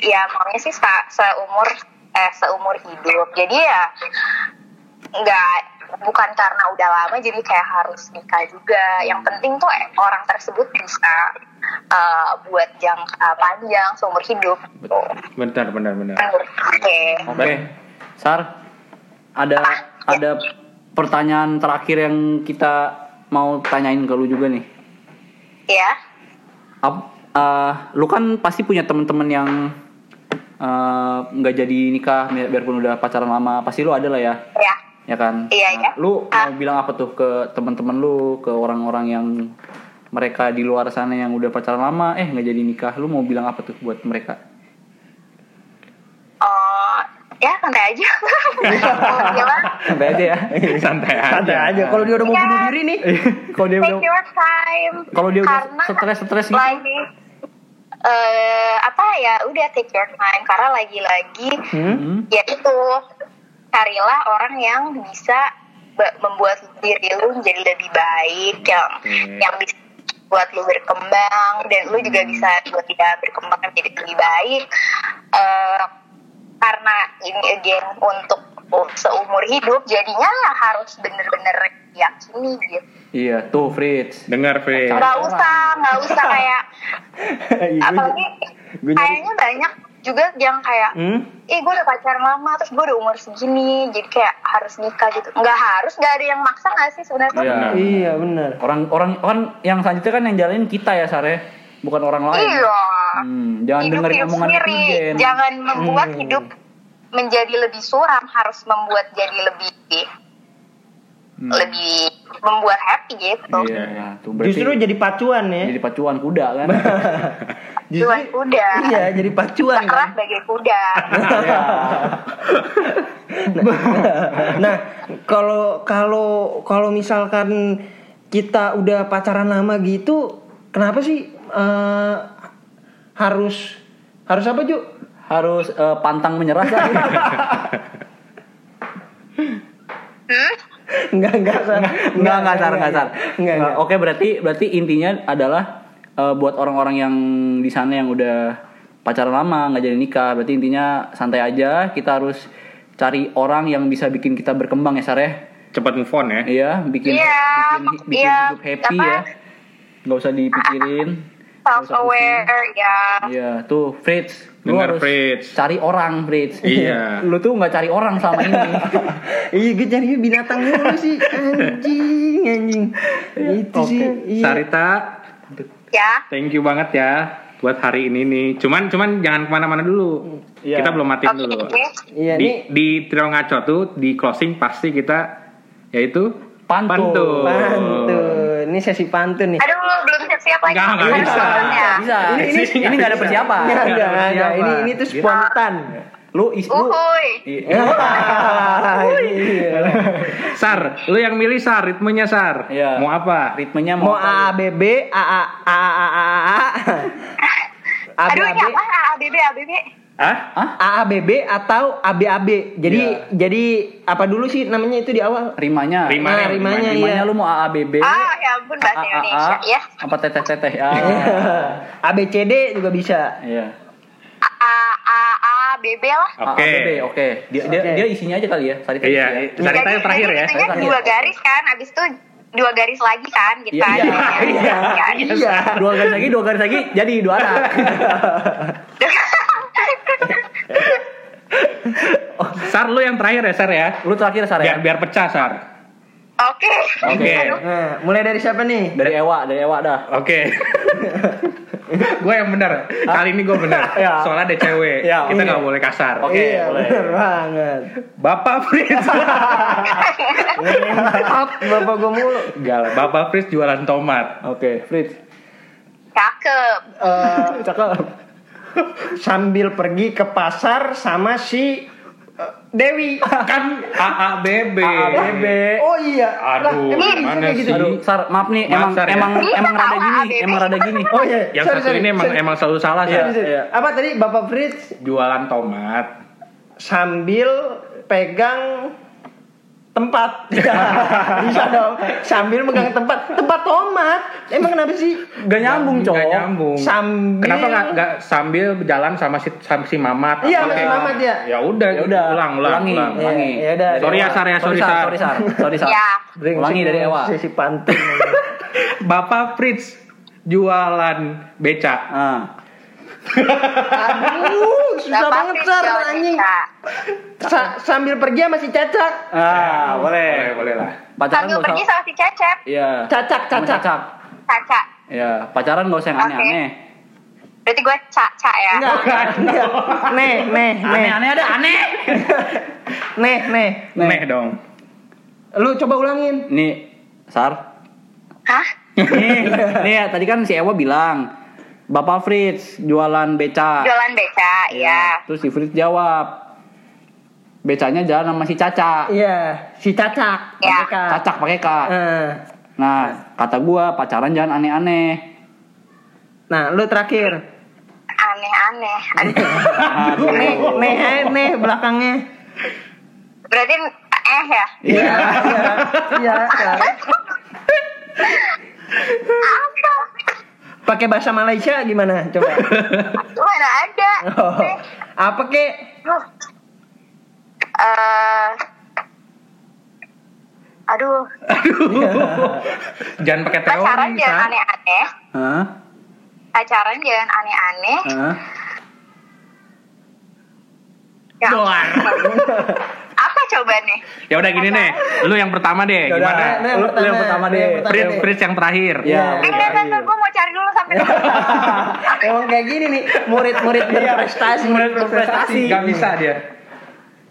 [SPEAKER 4] ya maunya sih se- seumur eh seumur hidup. Jadi ya nggak bukan karena udah lama jadi kayak harus nikah juga. Yang penting tuh eh, orang tersebut bisa eh, buat jangka panjang seumur hidup. Gitu.
[SPEAKER 2] Benar, benar, benar.
[SPEAKER 4] Menurut gue.
[SPEAKER 3] Oke.
[SPEAKER 2] Baik.
[SPEAKER 3] Sar, ada ada pertanyaan terakhir yang kita mau tanyain ke lu juga nih.
[SPEAKER 4] Ya.
[SPEAKER 3] Ap- eh, lu kan pasti punya temen-temen yang eh, nggak jadi nikah bi- biarpun udah pacaran lama pasti lu ada lah ya
[SPEAKER 4] Ya.
[SPEAKER 3] ya kan
[SPEAKER 4] Iya, iya.
[SPEAKER 3] lu
[SPEAKER 4] Ah.
[SPEAKER 3] mau bilang apa tuh ke temen-temen lu ke orang-orang yang mereka di luar sana yang udah pacaran lama eh nggak jadi nikah lu mau bilang apa tuh buat mereka [laughs]
[SPEAKER 4] Oh, ya santai aja. Mau bilang,
[SPEAKER 3] sampai aja
[SPEAKER 4] [laughs]
[SPEAKER 3] ya
[SPEAKER 2] Santai aja.
[SPEAKER 1] Ada aja, kalau dia udah mau
[SPEAKER 4] Iya.
[SPEAKER 1] bunuh diri nih, kalau dia udah
[SPEAKER 4] Take your time.
[SPEAKER 3] Kalau dia udah
[SPEAKER 4] Karena
[SPEAKER 3] stres-stres gitu.
[SPEAKER 4] Lagi eh apa ya udah take your time karena lagi-lagi
[SPEAKER 3] Hmm.
[SPEAKER 4] ya itu carilah orang yang bisa be- membuat diri lu menjadi lebih baik yang
[SPEAKER 2] Oke.
[SPEAKER 4] yang bisa buat lu berkembang dan lu
[SPEAKER 3] Hmm.
[SPEAKER 4] juga bisa buat dia berkembang menjadi lebih baik Eh, karena ini again untuk seumur hidup jadinya harus bener-bener yakini gitu
[SPEAKER 3] iya tuh Fritz
[SPEAKER 2] Dengar, Fritz.
[SPEAKER 4] nggak usah nggak usah kayak
[SPEAKER 1] Iya, gua-
[SPEAKER 4] apalagi
[SPEAKER 1] gua nyari-
[SPEAKER 4] kayaknya banyak juga yang kayak
[SPEAKER 1] Hmm?
[SPEAKER 4] ih gue udah pacaran lama terus gue udah umur segini jadi kayak harus nikah gitu nggak harus nggak ada yang maksa nggak sih sebenarnya
[SPEAKER 3] Iya.
[SPEAKER 1] Iya, benar.
[SPEAKER 3] orang orang orang yang selanjutnya kan yang jalanin kita ya Sare bukan orang lain
[SPEAKER 4] iya
[SPEAKER 3] Hmm, jangan dengar
[SPEAKER 4] hidup
[SPEAKER 3] omongan
[SPEAKER 4] sendiri
[SPEAKER 3] netizen
[SPEAKER 4] jangan membuat
[SPEAKER 1] Hmm.
[SPEAKER 4] hidup menjadi lebih suram harus membuat jadi lebih
[SPEAKER 3] Hmm.
[SPEAKER 4] lebih membuat happy gitu
[SPEAKER 3] iya nah, tuh berarti
[SPEAKER 1] Justru jadi pacuan ya.
[SPEAKER 3] jadi pacuan kuda kan
[SPEAKER 1] [laughs] Justru
[SPEAKER 4] Pacuan kuda.
[SPEAKER 1] Iya, jadi pacuan kan.
[SPEAKER 4] Sekarang bagai kuda
[SPEAKER 3] Iya.
[SPEAKER 1] nah kalau kalau kalau misalkan kita udah pacaran lama gitu kenapa sih eh, harus harus apa Ju?
[SPEAKER 3] harus eh, pantang menyerah Sar.
[SPEAKER 4] hmm?
[SPEAKER 1] Enggak [laughs] enggak Sar.
[SPEAKER 3] nggak nggak sar nggak sar
[SPEAKER 1] Enggak, enggak.
[SPEAKER 3] Nah, oke berarti berarti intinya adalah eh, buat orang-orang yang di sana yang udah pacaran lama nggak jadi nikah berarti intinya santai aja kita harus cari orang yang bisa bikin kita berkembang ya Sar ya
[SPEAKER 2] Cepat move on ya.
[SPEAKER 3] iya bikin
[SPEAKER 4] Iya,
[SPEAKER 3] bikin, bikin
[SPEAKER 4] iya,
[SPEAKER 3] hidup happy
[SPEAKER 4] apa?
[SPEAKER 3] ya nggak usah dipikirin
[SPEAKER 4] self aware ya
[SPEAKER 3] Iya tuh Fritz lu
[SPEAKER 2] Dengar,
[SPEAKER 3] harus
[SPEAKER 2] Fritz.
[SPEAKER 3] cari orang Fritz
[SPEAKER 2] Iya.
[SPEAKER 3] [laughs] lu tuh nggak cari orang selama
[SPEAKER 2] [laughs]
[SPEAKER 3] ini
[SPEAKER 1] Iya gue cari binatang dulu sih Anjing Anjing Itu
[SPEAKER 3] Oke.
[SPEAKER 1] sih iya.
[SPEAKER 2] Sarita,
[SPEAKER 4] ya
[SPEAKER 2] thank you banget ya buat hari ini nih. Cuman cuman jangan kemana-mana dulu.
[SPEAKER 1] Iya.
[SPEAKER 2] Kita belum matiin
[SPEAKER 4] oke
[SPEAKER 2] dulu.
[SPEAKER 1] Iya
[SPEAKER 2] di
[SPEAKER 1] nih
[SPEAKER 2] di Trio Ngaco tuh di closing pasti kita yaitu
[SPEAKER 3] Pantun.
[SPEAKER 1] Pantun Ini sesi pantun nih
[SPEAKER 4] aduh belum siap siap lagi
[SPEAKER 2] Nggak, nggak
[SPEAKER 4] Aduh,
[SPEAKER 2] bisa.
[SPEAKER 4] belum ya.
[SPEAKER 3] bisa
[SPEAKER 1] Ini-
[SPEAKER 3] ini
[SPEAKER 1] ini-
[SPEAKER 3] ini nggak ada persiapan
[SPEAKER 1] Nggak ada,
[SPEAKER 3] Nggak ada
[SPEAKER 1] nggak ada. Ini,
[SPEAKER 3] persiapan.
[SPEAKER 1] ini tuh spontan
[SPEAKER 3] lu is lu
[SPEAKER 4] uhuy
[SPEAKER 3] Iya.
[SPEAKER 1] Wah, iya.
[SPEAKER 2] Sar, lu yang milih Sar, ritmenya Sar.
[SPEAKER 3] Iya.
[SPEAKER 2] Mau apa?
[SPEAKER 3] ritmenya
[SPEAKER 1] Mau
[SPEAKER 3] mau apa?
[SPEAKER 1] AABB, AA, AAAA,
[SPEAKER 4] aduh ini
[SPEAKER 1] ABAB,
[SPEAKER 4] apa ABB ABB
[SPEAKER 2] Hah?
[SPEAKER 1] AABB atau ABAB. Jadi
[SPEAKER 3] Iya.
[SPEAKER 1] jadi apa dulu sih namanya itu di awal?
[SPEAKER 3] rimanya
[SPEAKER 1] Nah,
[SPEAKER 2] Rimanya,
[SPEAKER 1] rimanya,
[SPEAKER 3] rimanya
[SPEAKER 1] iya.
[SPEAKER 3] lu mau AABB
[SPEAKER 4] ah ya ampun bahasa Indonesia ya
[SPEAKER 3] apa teteh teteh ya
[SPEAKER 2] Iya.
[SPEAKER 1] ABCD juga bisa.
[SPEAKER 3] iya
[SPEAKER 4] A A A A B B lah
[SPEAKER 2] Oke.
[SPEAKER 3] AABB, Ah, oke dia, dia
[SPEAKER 1] Oke.
[SPEAKER 3] dia isinya aja kali ya Sari
[SPEAKER 2] Iya,
[SPEAKER 3] Iya.
[SPEAKER 2] Sarita yang terakhir ya.
[SPEAKER 4] itunya
[SPEAKER 3] Terakhir.
[SPEAKER 4] dua garis kan abis itu dua garis lagi kan gitu
[SPEAKER 3] Iya,
[SPEAKER 4] kan
[SPEAKER 3] iya,
[SPEAKER 4] Iya, iya.
[SPEAKER 3] dua garis lagi dua garis lagi jadi dua
[SPEAKER 2] [laughs]
[SPEAKER 3] anak
[SPEAKER 2] Sar, lu yang terakhir ya Sar ya.
[SPEAKER 3] lu terakhir Sari
[SPEAKER 2] Biar biar pecah Sar.
[SPEAKER 4] [laughs] oke
[SPEAKER 2] Oke.
[SPEAKER 4] Aduh,
[SPEAKER 1] Nah, mulai dari siapa nih?
[SPEAKER 3] dari Ewa dari Ewa dah
[SPEAKER 2] [laughs] Oke. gue yang benar. Kali ini gue
[SPEAKER 1] [laughs]
[SPEAKER 2] benar.
[SPEAKER 3] Iya.
[SPEAKER 1] Ya.
[SPEAKER 2] Soalnya ada cewek.
[SPEAKER 3] Iya,
[SPEAKER 2] Kita
[SPEAKER 3] oke.
[SPEAKER 2] nggak boleh kasar.
[SPEAKER 3] Oke,
[SPEAKER 1] iya,
[SPEAKER 3] boleh.
[SPEAKER 1] bener banget.
[SPEAKER 2] Bapak
[SPEAKER 1] [laughs]
[SPEAKER 2] Fris.
[SPEAKER 1] Up, bapak gue mulu.
[SPEAKER 2] Enggak lah, Bapak Fris jualan tomat.
[SPEAKER 3] oke Fritz
[SPEAKER 4] cakep
[SPEAKER 1] Eh,
[SPEAKER 3] cakep
[SPEAKER 1] sambil pergi ke pasar sama si eh, Dewi.
[SPEAKER 2] Kan AABB.
[SPEAKER 3] AABB.
[SPEAKER 1] Oh iya.
[SPEAKER 2] Aduh,
[SPEAKER 1] emang
[SPEAKER 2] gimana
[SPEAKER 1] kayak gitu?
[SPEAKER 2] sih?
[SPEAKER 3] aduh Sar maaf nih
[SPEAKER 2] Maaf,
[SPEAKER 3] emang
[SPEAKER 2] Sar, ya.
[SPEAKER 3] emang
[SPEAKER 4] Ini
[SPEAKER 3] emang
[SPEAKER 4] ketawa,
[SPEAKER 3] rada gini
[SPEAKER 4] AABB.
[SPEAKER 3] emang rada gini
[SPEAKER 1] Oh iya.
[SPEAKER 2] Yang
[SPEAKER 1] Sorry,
[SPEAKER 2] satu
[SPEAKER 1] sorry,
[SPEAKER 2] ini emang
[SPEAKER 1] sorry.
[SPEAKER 2] emang selalu salah
[SPEAKER 1] Sorry,
[SPEAKER 2] Sar.
[SPEAKER 1] sorry.
[SPEAKER 3] iya.
[SPEAKER 1] Apa tadi Bapak Fritz
[SPEAKER 2] Jualan tomat.
[SPEAKER 1] sambil pegang
[SPEAKER 2] [laughs]
[SPEAKER 1] tempat Iya, bisa dong sambil megang tempat tempat tomat emang kenapa sih
[SPEAKER 3] gak nyambung cowok
[SPEAKER 2] Nggak nyambung.
[SPEAKER 1] sambil
[SPEAKER 2] Kenapa nggak nggak sambil berjalan sama si sama si Mamat?
[SPEAKER 1] Iya,
[SPEAKER 2] Oke.
[SPEAKER 1] sama si Mamat, ya.
[SPEAKER 2] Ya udah,
[SPEAKER 3] ya udah
[SPEAKER 2] ulang ulang
[SPEAKER 3] ulangi
[SPEAKER 2] ulang.
[SPEAKER 1] Iya.
[SPEAKER 3] ulangi
[SPEAKER 1] Ya udah.
[SPEAKER 3] Dari
[SPEAKER 2] Sorry ya,
[SPEAKER 3] Ewa.
[SPEAKER 2] Sar, ya, sorry, Sar.
[SPEAKER 3] sorry Sar [laughs] sorry Sar
[SPEAKER 4] ya
[SPEAKER 3] ulangi dari Ewa
[SPEAKER 1] sisi pantun
[SPEAKER 2] Bapak Fritz jualan beca.
[SPEAKER 3] ah
[SPEAKER 1] aduh susah
[SPEAKER 4] Bapak
[SPEAKER 1] banget
[SPEAKER 4] Fitri
[SPEAKER 1] sar
[SPEAKER 4] Jawa
[SPEAKER 1] anjing
[SPEAKER 4] Desa.
[SPEAKER 1] Sa- sambil pergi sama si cacak
[SPEAKER 3] ah
[SPEAKER 1] Eh.
[SPEAKER 3] boleh
[SPEAKER 2] Boleh, boleh lah.
[SPEAKER 3] pacaran
[SPEAKER 4] sambil
[SPEAKER 3] gak
[SPEAKER 4] pergi
[SPEAKER 3] usah
[SPEAKER 4] sama si cecep
[SPEAKER 3] iya
[SPEAKER 1] cacak
[SPEAKER 3] Sama
[SPEAKER 1] cacak
[SPEAKER 3] cacak
[SPEAKER 4] caca
[SPEAKER 3] ya pacaran gak usah yang
[SPEAKER 4] Oke.
[SPEAKER 3] aneh-aneh
[SPEAKER 4] berarti gue caca ya
[SPEAKER 1] Enggak, enggak. Nih, nih, nih,
[SPEAKER 3] aneh-aneh ada Oh, aneh
[SPEAKER 1] nih, nih.
[SPEAKER 3] Nih.
[SPEAKER 2] Neh dong.
[SPEAKER 1] Lu coba ulangin.
[SPEAKER 3] nih Sar
[SPEAKER 4] hah
[SPEAKER 3] nih, [laughs] nih ya, tadi kan si Ewa bilang Bapak Fritz jualan beca.
[SPEAKER 4] jualan beca
[SPEAKER 2] Iya.
[SPEAKER 4] ya
[SPEAKER 3] Terus si Fritz jawab becanya jalan sama si Caca.
[SPEAKER 1] Iya, si cacak. Pakai
[SPEAKER 4] Iya.
[SPEAKER 1] K.
[SPEAKER 3] Cacak pakai K.
[SPEAKER 1] Eh,
[SPEAKER 3] Nah, kata gua pacaran jangan aneh-aneh.
[SPEAKER 1] Nah, lu terakhir.
[SPEAKER 4] aneh-aneh Aduh.
[SPEAKER 2] [laughs]
[SPEAKER 3] Aduh.
[SPEAKER 1] Nih, nih, eh, nih belakangnya.
[SPEAKER 4] berarti eh ya
[SPEAKER 1] Iya, iya, iya. Sar.
[SPEAKER 4] apa
[SPEAKER 1] Pakai bahasa Malaysia gimana? Coba.
[SPEAKER 4] mana
[SPEAKER 2] [laughs]
[SPEAKER 4] ada
[SPEAKER 1] Oh, Apa kek?
[SPEAKER 4] Duh. Eh, aduh
[SPEAKER 2] Jangan pakai
[SPEAKER 4] pacaran ya,
[SPEAKER 2] teori,
[SPEAKER 4] jangan
[SPEAKER 2] Sar.
[SPEAKER 4] aneh-aneh
[SPEAKER 3] Hah?
[SPEAKER 4] pacaran jangan aneh-aneh
[SPEAKER 3] Hah?
[SPEAKER 4] Ya.
[SPEAKER 2] Doar.
[SPEAKER 4] apa coba nih
[SPEAKER 2] Ya udah gini nih, lu yang pertama deh,
[SPEAKER 3] Yaudah,
[SPEAKER 2] gimana?
[SPEAKER 1] Nih, nih,
[SPEAKER 3] Nah, Lu- lu yang pertama deh.
[SPEAKER 1] Nih, yang Nah, pertama
[SPEAKER 2] Fritz,
[SPEAKER 1] deh.
[SPEAKER 2] Fritz yang terakhir.
[SPEAKER 3] Ya,
[SPEAKER 1] Iya.
[SPEAKER 4] eh enggak enggak gue mau cari dulu
[SPEAKER 2] [laughs]
[SPEAKER 4] sampai
[SPEAKER 1] Emang kayak gini nih, murid-murid Iya, berprestasi.
[SPEAKER 2] Kemudian berprestasi. Gak bisa dia.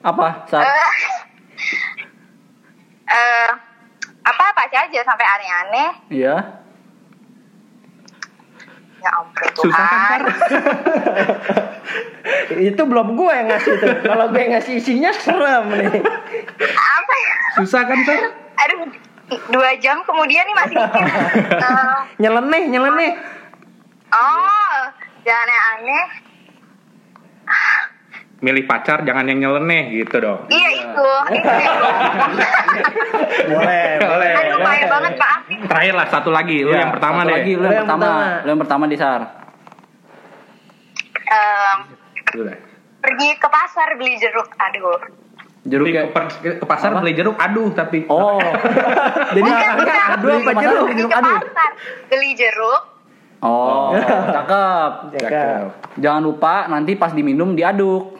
[SPEAKER 3] Apa? Sar?
[SPEAKER 4] Eh, eh, apa apa aja sampai aneh-aneh
[SPEAKER 3] Iya.
[SPEAKER 4] ya ampun Tuhan
[SPEAKER 2] Susah kan, Sar?
[SPEAKER 1] Itu belum gue yang ngasih itu. Kalau gue yang ngasih isinya serem nih.
[SPEAKER 4] apa ya
[SPEAKER 2] Susah kan, Sar?
[SPEAKER 4] aduh dua jam kemudian nih masih mikir
[SPEAKER 2] [laughs]
[SPEAKER 4] Eh,
[SPEAKER 1] Nyeleneh, nyeleneh.
[SPEAKER 4] oh jangan yang aneh
[SPEAKER 2] Milih pacar jangan yang nyeleneh gitu dong.
[SPEAKER 4] iya itu itu
[SPEAKER 1] [laughs] Boleh,
[SPEAKER 2] boleh.
[SPEAKER 4] aduh bahaya banget pak Afi
[SPEAKER 2] Terakhir lah satu lagi, lu
[SPEAKER 3] Iya,
[SPEAKER 2] yang pertama
[SPEAKER 3] satu
[SPEAKER 2] deh.
[SPEAKER 3] Lagi, lu
[SPEAKER 1] Lu
[SPEAKER 3] yang
[SPEAKER 1] yang
[SPEAKER 3] pertama.
[SPEAKER 1] pertama.
[SPEAKER 3] Lu yang pertama di Sar.
[SPEAKER 4] em,
[SPEAKER 2] Gitu dah.
[SPEAKER 4] pergi ke pasar beli jeruk aduh
[SPEAKER 3] jeruk
[SPEAKER 2] Beli
[SPEAKER 3] ya
[SPEAKER 2] ke, per- ke pasar
[SPEAKER 3] Apa?
[SPEAKER 2] beli jeruk aduh tapi [laughs]
[SPEAKER 3] oh jadi
[SPEAKER 4] Bukan, bukan.
[SPEAKER 3] aduh apa
[SPEAKER 1] Beli
[SPEAKER 3] jeruk
[SPEAKER 4] pergi ke pasar beli jeruk
[SPEAKER 3] oh cakep kan?
[SPEAKER 1] Cakep.
[SPEAKER 3] jangan lupa nanti pas diminum diaduk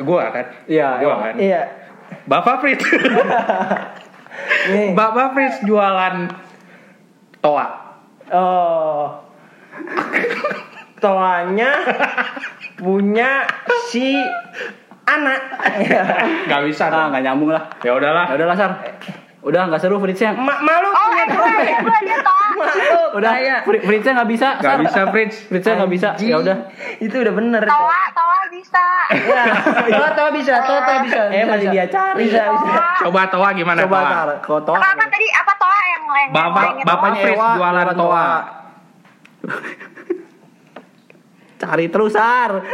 [SPEAKER 2] gua kan
[SPEAKER 1] Iya,
[SPEAKER 2] gua
[SPEAKER 1] emang.
[SPEAKER 2] kan
[SPEAKER 1] iya.
[SPEAKER 2] bapak Fritz
[SPEAKER 3] Iya.
[SPEAKER 2] [laughs]
[SPEAKER 1] Nih.
[SPEAKER 2] bapak Fritz jualan toa
[SPEAKER 1] Oh. Toanya punya si Iya. anak.
[SPEAKER 2] nggak bisa
[SPEAKER 3] ah
[SPEAKER 2] dong.
[SPEAKER 3] nggak nyambung lah
[SPEAKER 2] ya udahlah
[SPEAKER 3] ya udah lah sar udah nggak seru Fritznya
[SPEAKER 1] Mak malu
[SPEAKER 4] oh
[SPEAKER 1] punya
[SPEAKER 4] eh gue ada gue ada toa
[SPEAKER 1] mak lu
[SPEAKER 3] udah
[SPEAKER 1] kayak
[SPEAKER 3] Fri- Fritznya nggak bisa
[SPEAKER 2] nggak
[SPEAKER 3] Sar.
[SPEAKER 2] bisa Fritz
[SPEAKER 3] Fritznya nggak bisa
[SPEAKER 1] Ji.
[SPEAKER 3] ya udah
[SPEAKER 1] Itu udah bener.
[SPEAKER 4] toa toa bisa
[SPEAKER 1] Ya, [laughs] toa toa bisa, toa toa bisa.
[SPEAKER 3] Eh, masih dia cari.
[SPEAKER 1] Bisa, bisa.
[SPEAKER 2] coba toa gimana
[SPEAKER 1] Coba
[SPEAKER 2] toa
[SPEAKER 1] tar, kotor.
[SPEAKER 4] apa, apa tadi apa toa yang leng
[SPEAKER 2] bapak
[SPEAKER 4] lengin?
[SPEAKER 2] bapaknya
[SPEAKER 3] Toa,
[SPEAKER 2] Fritz
[SPEAKER 3] Ewa,
[SPEAKER 2] jualan
[SPEAKER 3] jualan
[SPEAKER 2] toa
[SPEAKER 3] toa. cari terus sar
[SPEAKER 4] [laughs]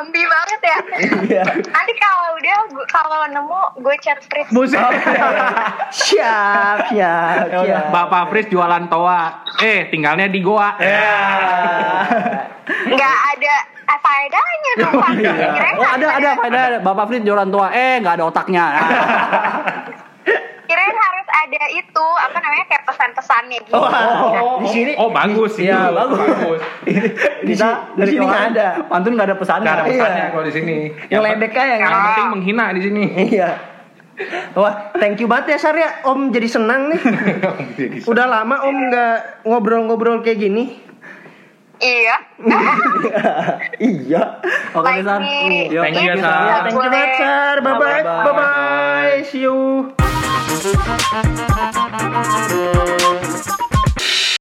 [SPEAKER 4] ambi banget ya nanti kalau udah gua- kalau nemu gue chat Fritz
[SPEAKER 2] Buset. [laughs]
[SPEAKER 1] Siap, siap, siap.
[SPEAKER 2] bapak Fritz jualan toa eh tinggalnya di goa
[SPEAKER 1] Eh,
[SPEAKER 4] nggak ada eh, faedahnya dong Pak. Kirain
[SPEAKER 3] oh ada ada ada, ada. bapak Fritz jualan tua eh nggak ada otaknya Ah.
[SPEAKER 4] kirain harus ada itu apa namanya kayak pesan-pesannya gitu
[SPEAKER 1] Oh, di sini
[SPEAKER 2] oh bagus itu.
[SPEAKER 1] Iya, bagus. [laughs] di,
[SPEAKER 3] Kita
[SPEAKER 1] sini- di sini nggak
[SPEAKER 3] kemarin,
[SPEAKER 1] ada.
[SPEAKER 3] pantun nggak ada pesan
[SPEAKER 2] Gak ada
[SPEAKER 1] Iya.
[SPEAKER 2] pesannya kalau di sini.
[SPEAKER 1] Ngeledek aja,
[SPEAKER 2] Yang
[SPEAKER 4] ngeledek.
[SPEAKER 2] penting menghina di
[SPEAKER 1] [laughs]
[SPEAKER 2] sini.
[SPEAKER 1] Iya. Wah, thank you banget ya Sarya. Om jadi senang nih. Udah lama Om nggak ngobrol-ngobrol kayak gini.
[SPEAKER 4] iya
[SPEAKER 1] iya.
[SPEAKER 3] oke deh, sar
[SPEAKER 4] Baik.
[SPEAKER 3] Yuk,
[SPEAKER 2] Thank you, Iya, Sar.
[SPEAKER 1] Ya, thank you
[SPEAKER 4] Boleh.
[SPEAKER 1] banget Sar. Bye bye.
[SPEAKER 3] Bye-bye.
[SPEAKER 1] Bye bye. See you.